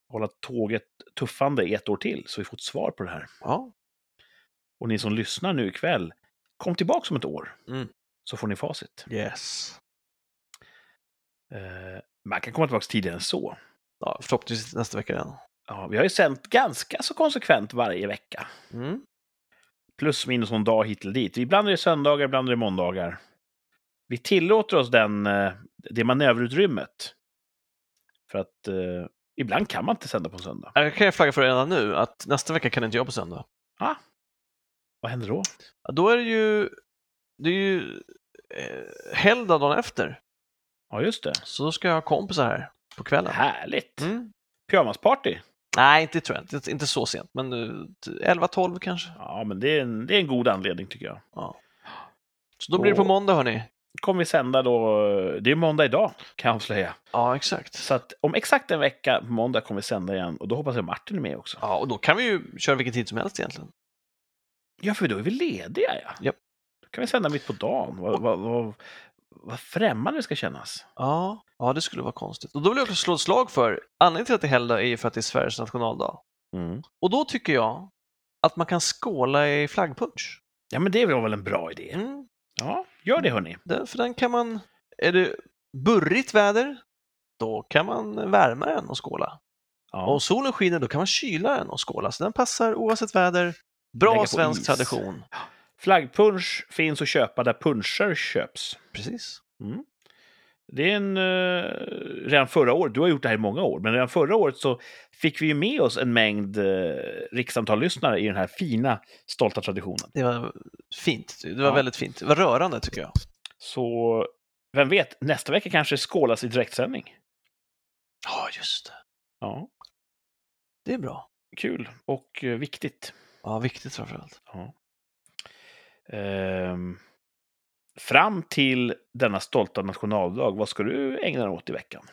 Speaker 2: hålla tåget tuffande i ett år till, så vi får ett svar på det här.
Speaker 1: Ja,
Speaker 2: Och ni som lyssnar nu ikväll, kom tillbaka om ett år,
Speaker 1: Mm.
Speaker 2: så får ni facit.
Speaker 1: yes.
Speaker 2: Eh, man kan komma tillbaka tidigare än så.
Speaker 1: Ja, förhoppningsvis nästa vecka redan.
Speaker 2: Ja, vi har ju sänt ganska så konsekvent varje vecka.
Speaker 1: Mm.
Speaker 2: Plus minus någon dag hit eller dit. Ibland är det söndagar, ibland är det måndagar. Vi tillåter oss den, eh, det manöverutrymmet. För att eh, ibland kan man inte sända på en söndag.
Speaker 1: Jag Äh, kan jag flagga för redan nu att nästa vecka kan inte jag på söndag.
Speaker 2: Vad händer då?
Speaker 1: Ja, Då är det ju, det är ju eh, helgdag dagen efter,
Speaker 2: Ja, just det.
Speaker 1: så då ska jag ha kompisar här på kvällen.
Speaker 2: Härligt!
Speaker 1: Mm.
Speaker 2: Pyjamasparty!
Speaker 1: Nej, inte tror jag. Inte, inte så sent, men eh, 11-12 kanske.
Speaker 2: Ja, men det är, en, det är en god anledning tycker jag.
Speaker 1: Så då blir det på
Speaker 2: Åh.
Speaker 1: måndag, hörni.
Speaker 2: Kommer vi sända då... eh, Det är måndag idag, kan jag avslöja.
Speaker 1: Ja, exakt.
Speaker 2: Så att om exakt en vecka, på måndag, kommer vi sända igen. Och då hoppas jag Martin är med också.
Speaker 1: Ja, och då kan vi ju köra vilken tid som helst egentligen.
Speaker 2: Ja, för då är vi lediga, ja.
Speaker 1: Japp.
Speaker 2: Då kan vi sända mitt på dagen. Vad, vad, vad, vad främmande det ska kännas.
Speaker 1: Ja, ja det skulle vara konstigt. Och då vill jag också slå ett slag för, anledningen till att det är helgdag är ju för att det är Sveriges nationaldag. Och då tycker jag att man kan skåla i flaggpunsch.
Speaker 2: Ja, men det var väl en bra idé.
Speaker 1: Mm,
Speaker 2: Ja, gör det, hörni.
Speaker 1: den, för den kan man, är det burrigt väder, då kan man värma den och skåla.
Speaker 2: Ja.
Speaker 1: Om solen skiner, då kan man kyla den och skåla. Så den passar oavsett väder. Bra
Speaker 2: Lägga på
Speaker 1: svensk
Speaker 2: is.
Speaker 1: tradition.
Speaker 2: Flaggpunsch finns att köpa där punscher köps.
Speaker 1: Precis.
Speaker 2: Det är en... Eh, redan förra året, du har gjort det här i många år, men redan förra året så fick vi ju med oss en mängd eh, rikssamtal-lyssnare i den här fina, stolta traditionen.
Speaker 1: Det var fint. Det var
Speaker 2: Ja.
Speaker 1: väldigt fint. Det var rörande tycker jag.
Speaker 2: Så vem vet, nästa vecka kanske skålas i direktsändning.
Speaker 1: Ja, just det.
Speaker 2: Ja,
Speaker 1: Det är bra.
Speaker 2: kul och eh, viktigt.
Speaker 1: Ja, viktigt framförallt.
Speaker 2: Ja. Ehm, fram till denna stolta nationaldag, vad ska du ägna dig åt i veckan?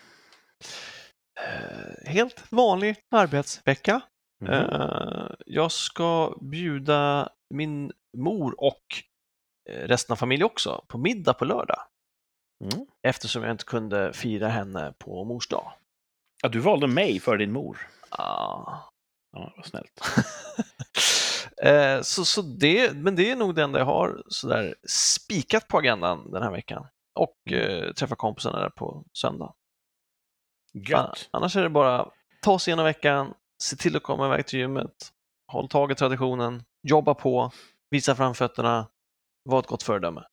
Speaker 1: Eh, helt vanlig arbetsvecka.
Speaker 2: Mm-hmm.
Speaker 1: Eh, jag ska bjuda min mor och eh, resten av familjen också på middag på lördag
Speaker 2: Mm.
Speaker 1: eftersom jag inte kunde fira henne på mors dag.
Speaker 2: Ja, du valde mig för din mor.
Speaker 1: Ah.
Speaker 2: Ja, vad snällt.
Speaker 1: Eh, så, så det, men det är nog det enda jag har sådär spikat på agendan den här veckan och eh, träffa kompisarna där på söndag.
Speaker 2: Gött.
Speaker 1: An- Annars är det bara ta sig igenom veckan, se till att komma iväg till gymmet, håll tag i traditionen, jobba på, visa framfötterna, var ett gott föredöme.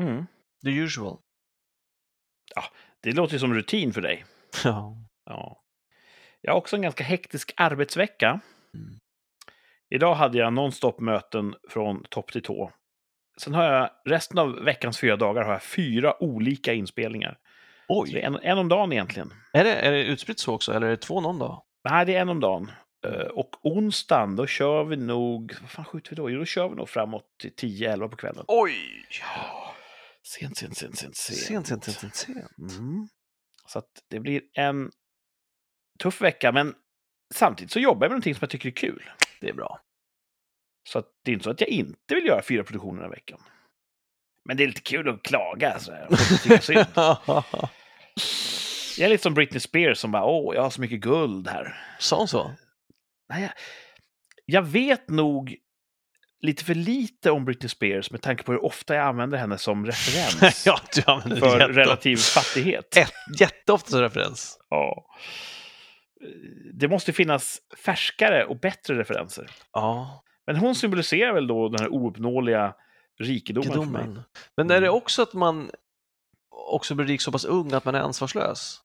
Speaker 2: Mm.
Speaker 1: The usual.
Speaker 2: Det låter ju som rutin för dig.
Speaker 1: Ja.
Speaker 2: Ja. Jag har också en ganska hektisk arbetsvecka.
Speaker 1: Mm.
Speaker 2: Idag hade jag nonstop möten från topp till tå. Sen har jag resten av veckans fyra dagar har jag fyra olika inspelningar. Så det
Speaker 1: Oj,
Speaker 2: är en, en om dagen egentligen.
Speaker 1: är det, är det utspritt så också eller är det två någon dag?
Speaker 2: Nej, det är en om dagen. Eh, Och onsdagen, då kör vi nog... Vad fan skjuter vi då? Jo, då kör vi nog framåt till 10-11 på kvällen.
Speaker 1: Oj!
Speaker 2: Sent, sent, sent, sent, sent.
Speaker 1: Sent, sent, sent, sent, sent.
Speaker 2: Mm. Så att det blir en tuff vecka, men samtidigt så jobbar jag med någonting som jag tycker är kul.
Speaker 1: Det är bra.
Speaker 2: Så att det är inte så att jag inte vill göra fyra produktioner den här veckan. Men det är lite kul att klaga. Så här. och tycka synd. jag är lite som Britney Spears som bara, åh, jag har så mycket guld här.
Speaker 1: Sa hon så?
Speaker 2: Nej, jag, jag vet nog lite för lite om Britney Spears med tanke på hur ofta jag använder henne som referens
Speaker 1: ja, du använder
Speaker 2: för
Speaker 1: jätte-
Speaker 2: relativ fattighet.
Speaker 1: ett- jätteofta som referens.
Speaker 2: Ja. Det måste finnas färskare och bättre referenser.
Speaker 1: Ja,
Speaker 2: Men hon symboliserar väl då den här ouppnåeliga rikedomen för mig.
Speaker 1: rikedomen. Men är det också att man också blir rik så pass ung att man är ansvarslös?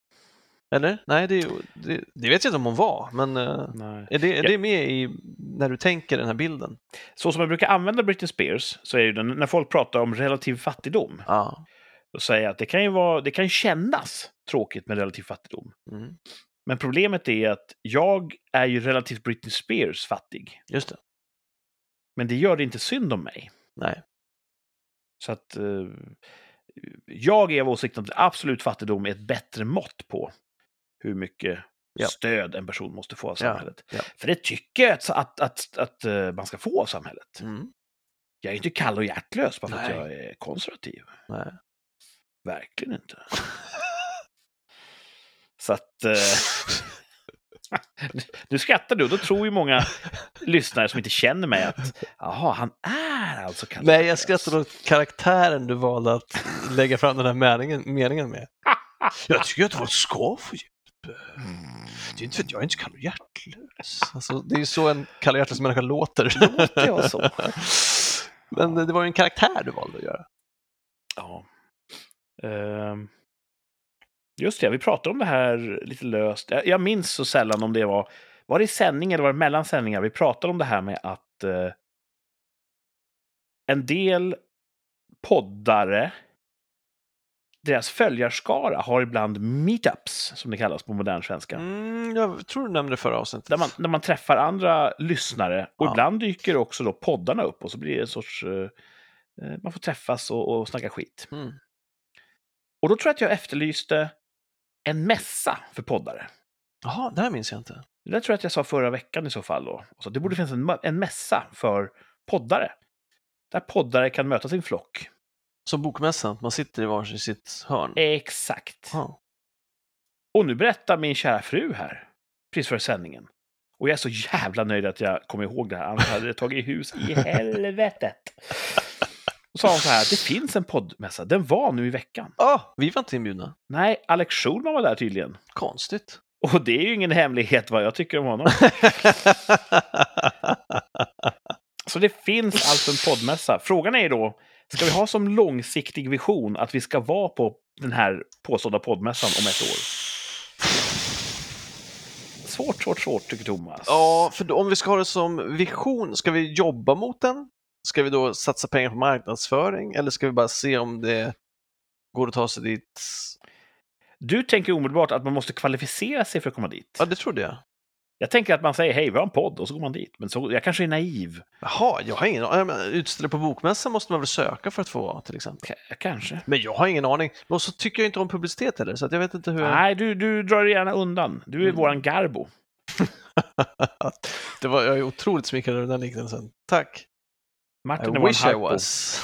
Speaker 1: Eller? Nej, det, är ju- det, det vet jag inte om hon var, men eh,
Speaker 2: Nej.
Speaker 1: är det, är
Speaker 2: Ja.
Speaker 1: det med i när du tänker den här bilden?
Speaker 2: Så som jag brukar använda Britney Spears, så är ju den, när folk pratar om relativ fattigdom,
Speaker 1: Ja.
Speaker 2: då säger jag att det kan ju, vara, det kan ju kännas tråkigt med relativ fattigdom.
Speaker 1: Mm.
Speaker 2: Men problemet är att jag är ju relativt Britney Spears fattig.
Speaker 1: Just det.
Speaker 2: Men det gör det inte synd om mig.
Speaker 1: Nej.
Speaker 2: Så att eh, jag är av åsikten att absolut fattigdom är ett bättre mått på hur mycket
Speaker 1: Ja.
Speaker 2: stöd en person måste få av
Speaker 1: Ja,
Speaker 2: samhället.
Speaker 1: ja.
Speaker 2: För det tycker jag att, att, att, att eh, man ska få av samhället.
Speaker 1: Mm.
Speaker 2: Jag är inte kall och hjärtlös bara för att
Speaker 1: Nej.
Speaker 2: jag är konservativ.
Speaker 1: Nej.
Speaker 2: Verkligen inte. Så att... Eh, nu skrattar du, då tror ju många lyssnare som inte känner mig att jaha, han är alltså Kalle
Speaker 1: Nej, jag
Speaker 2: Ankas."
Speaker 1: skrattar åt karaktären du valde att lägga fram den här meningen, meningen med. Jag tycker att folk ska få hjälp.
Speaker 2: Mm,
Speaker 1: Det är inte för att jag inte kan hjärtlös. Alltså, det är ju så en Kalle Hjärtlös-människa låter.
Speaker 2: Låter jag så?
Speaker 1: Men det var ju en karaktär du valde att göra.
Speaker 2: Ja. Ehm, Just det, vi pratade om det här lite löst. Jag, jag minns så sällan om det var... Var det i sändning eller var det mellan sändningar? Vi pratade om det här med att eh, en del poddare, deras följarskara har ibland meetups, som det kallas på modern svenska.
Speaker 1: Mm, jag tror du nämnde det förra avsnittet.
Speaker 2: Där man, där man träffar andra lyssnare. Och
Speaker 1: Ja.
Speaker 2: ibland dyker också då poddarna upp och så blir det en sorts... eh, eh, man får träffas och, och snacka skit.
Speaker 1: Mm.
Speaker 2: Och då tror jag att jag efterlyste en mässa för poddare.
Speaker 1: Jaha, det här minns jag inte.
Speaker 2: Det där tror jag att jag sa förra veckan i så fall. Då. Och Så det
Speaker 1: Mm.
Speaker 2: borde finnas en, ma- en mässa för poddare. Där poddare kan möta sin flock.
Speaker 1: Som bokmässan, man sitter i varsin sitt hörn.
Speaker 2: Exakt.
Speaker 1: Ja.
Speaker 2: Och nu berättar min kära fru här, precis före sändningen. Och jag är så jävla nöjd att jag kom ihåg det här, annars hade det tagit hus i helvetet. Och sa hon så här, det finns en poddmässa, den var nu i veckan.
Speaker 1: Ah, vi var inte inbjudna.
Speaker 2: Nej, Alex Schulman var där tydligen.
Speaker 1: Konstigt.
Speaker 2: Och det är ju ingen hemlighet vad jag tycker om honom. Så det finns alltså en poddmässa. Frågan är ju då, ska vi ha som långsiktig vision att vi ska vara på den här påstådda poddmässan om ett år? Svårt, svårt, svårt tycker Thomas.
Speaker 1: Ja, för då, om vi ska ha det som vision, ska vi jobba mot den? Ska vi då satsa pengar på marknadsföring eller ska vi bara se om det går att ta sig dit?
Speaker 2: Du tänker omedelbart att man måste kvalificera sig för att komma dit.
Speaker 1: Ja, det trodde jag.
Speaker 2: Jag tänker att man säger hej, vi har en podd och så går man dit. Men så, jag kanske är naiv.
Speaker 1: Jaha, jag har ingen aning. Utställare på bokmässan måste man väl söka för att få vara till exempel.
Speaker 2: K- kanske.
Speaker 1: Men jag har ingen aning. Och så tycker jag inte om publicitet heller, så att jag vet inte hur... Jag...
Speaker 2: Nej, du, du drar dig gärna undan. Du är
Speaker 1: Mm.
Speaker 2: våran Garbo.
Speaker 1: det var, jag är otroligt smickrad över den liknelsen. Tack.
Speaker 2: Martin är
Speaker 1: I
Speaker 2: våran
Speaker 1: wish I
Speaker 2: Harpo.
Speaker 1: was.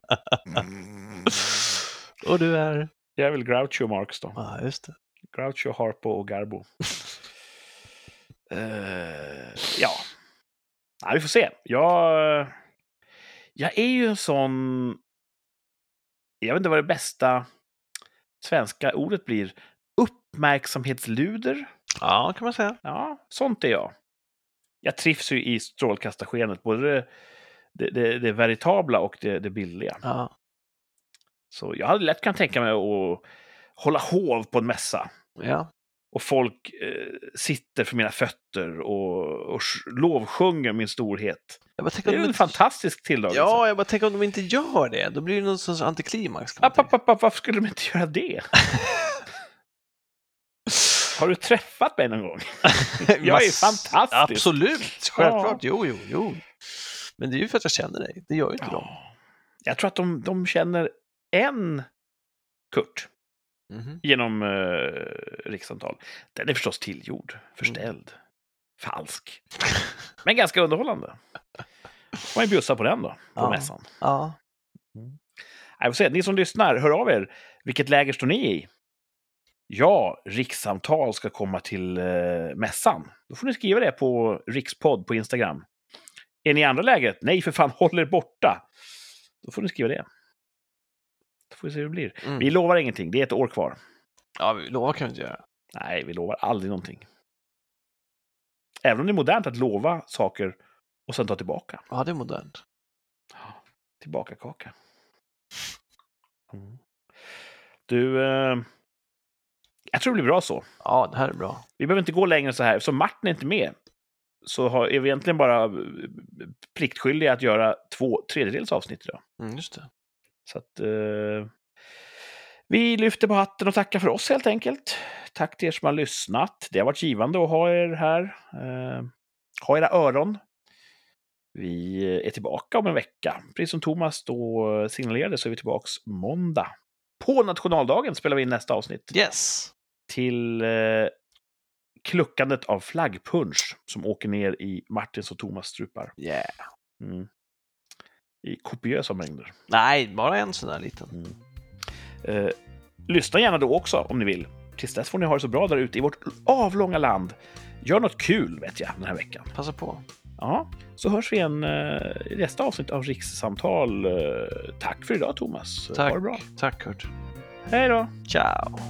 Speaker 1: och du är...
Speaker 2: Jag är väl Groucho Marx då.
Speaker 1: Ja, ah, just det.
Speaker 2: Groucho, Harpo och Garbo. Eh, ja. Nej, vi får se. Jag, jag är ju en sån... Jag vet inte vad det bästa svenska ordet blir. Uppmärksamhetsluder.
Speaker 1: Ja, kan man säga.
Speaker 2: Ja, sånt är jag. Jag trivs ju i strålkastarskenet, både det, det, det, det veritabla och det, det bildliga.
Speaker 1: Ja.
Speaker 2: Så jag hade lätt kunnat tänka mig att hålla hov på en mässa.
Speaker 1: ja.
Speaker 2: Och folk eh, sitter för mina fötter och, och sj- lovsjunger min storhet.
Speaker 1: Jag bara tänker
Speaker 2: Det är
Speaker 1: om de
Speaker 2: ju en
Speaker 1: inte-
Speaker 2: fantastisk tilldragelse.
Speaker 1: Ja, jag bara tänker om de inte gör det, då blir det någon sorts antiklimax. kan man
Speaker 2: App,
Speaker 1: tänka.
Speaker 2: app, app, app, varför skulle de inte göra det? Har du träffat mig någon gång? Jag är
Speaker 1: Mass-
Speaker 2: fantastisk.
Speaker 1: Absolut, självklart. Jo, jo, jo. Men det är ju för att jag känner dig. Det gör ju inte de.
Speaker 2: Ja. Jag tror att de, de känner en Kurt
Speaker 1: Mhm.
Speaker 2: genom eh, rikssamtal. Den är förstås tillgjord,
Speaker 1: Mm.
Speaker 2: förställd, falsk. Men ganska underhållande. Får man ju bjussa på den då, på
Speaker 1: Ja.
Speaker 2: mässan.
Speaker 1: Ja.
Speaker 2: Nej, Jag får se. Ni som lyssnar, hör av er. Vilket läger står ni i? Ja, rikssamtal ska komma till eh, mässan. Då får ni skriva det på rikspodd på Instagram. Är ni i andra läget? Nej, för fan, håll er borta! Då får ni skriva det. Då får vi se hur det blir.
Speaker 1: Mm.
Speaker 2: Vi lovar ingenting, det är ett år kvar.
Speaker 1: ja, vi lovar kan vi inte göra.
Speaker 2: Nej, vi lovar aldrig någonting. Även om det är modernt att lova saker och sen ta tillbaka.
Speaker 1: Ja, det är modernt.
Speaker 2: Tillbaka kaka. Mm. Du, eh, jag tror det blir bra så.
Speaker 1: Ja, det här är bra.
Speaker 2: Vi behöver inte gå längre så här. Så Martin är inte med. Så har, är vi egentligen bara eh, pliktskyldiga att göra två tredjedels avsnitt idag.
Speaker 1: Mm, just det.
Speaker 2: Så att, eh, vi lyfter på hatten och tackar för oss helt enkelt. Tack till er som har lyssnat. Det har varit givande att ha er här. Eh, ha era öron. Vi är tillbaka om en vecka. Precis som Thomas då signalerade så är vi tillbaka måndag. På nationaldagen spelar vi in nästa avsnitt
Speaker 1: Yes.
Speaker 2: till eh, kluckandet av flaggpunsch som åker ner i Martins och Thomas strupar.
Speaker 1: Yeah.
Speaker 2: Mm. I kopiösa mängder.
Speaker 1: Nej, bara en sån där liten.
Speaker 2: Eh, Lyssna gärna då också om ni vill. Tills dess får ni ha det så bra där ute i vårt avlånga land. Gör något kul, vet jag, den här veckan.
Speaker 1: Passa på.
Speaker 2: Ja, så hörs vi igen eh, i nästa avsnitt av Rikssamtal. Eh, Tack för idag, Thomas.
Speaker 1: Tack.
Speaker 2: Ha det bra.
Speaker 1: Tack Kurt.
Speaker 2: Hej då!
Speaker 1: Ciao.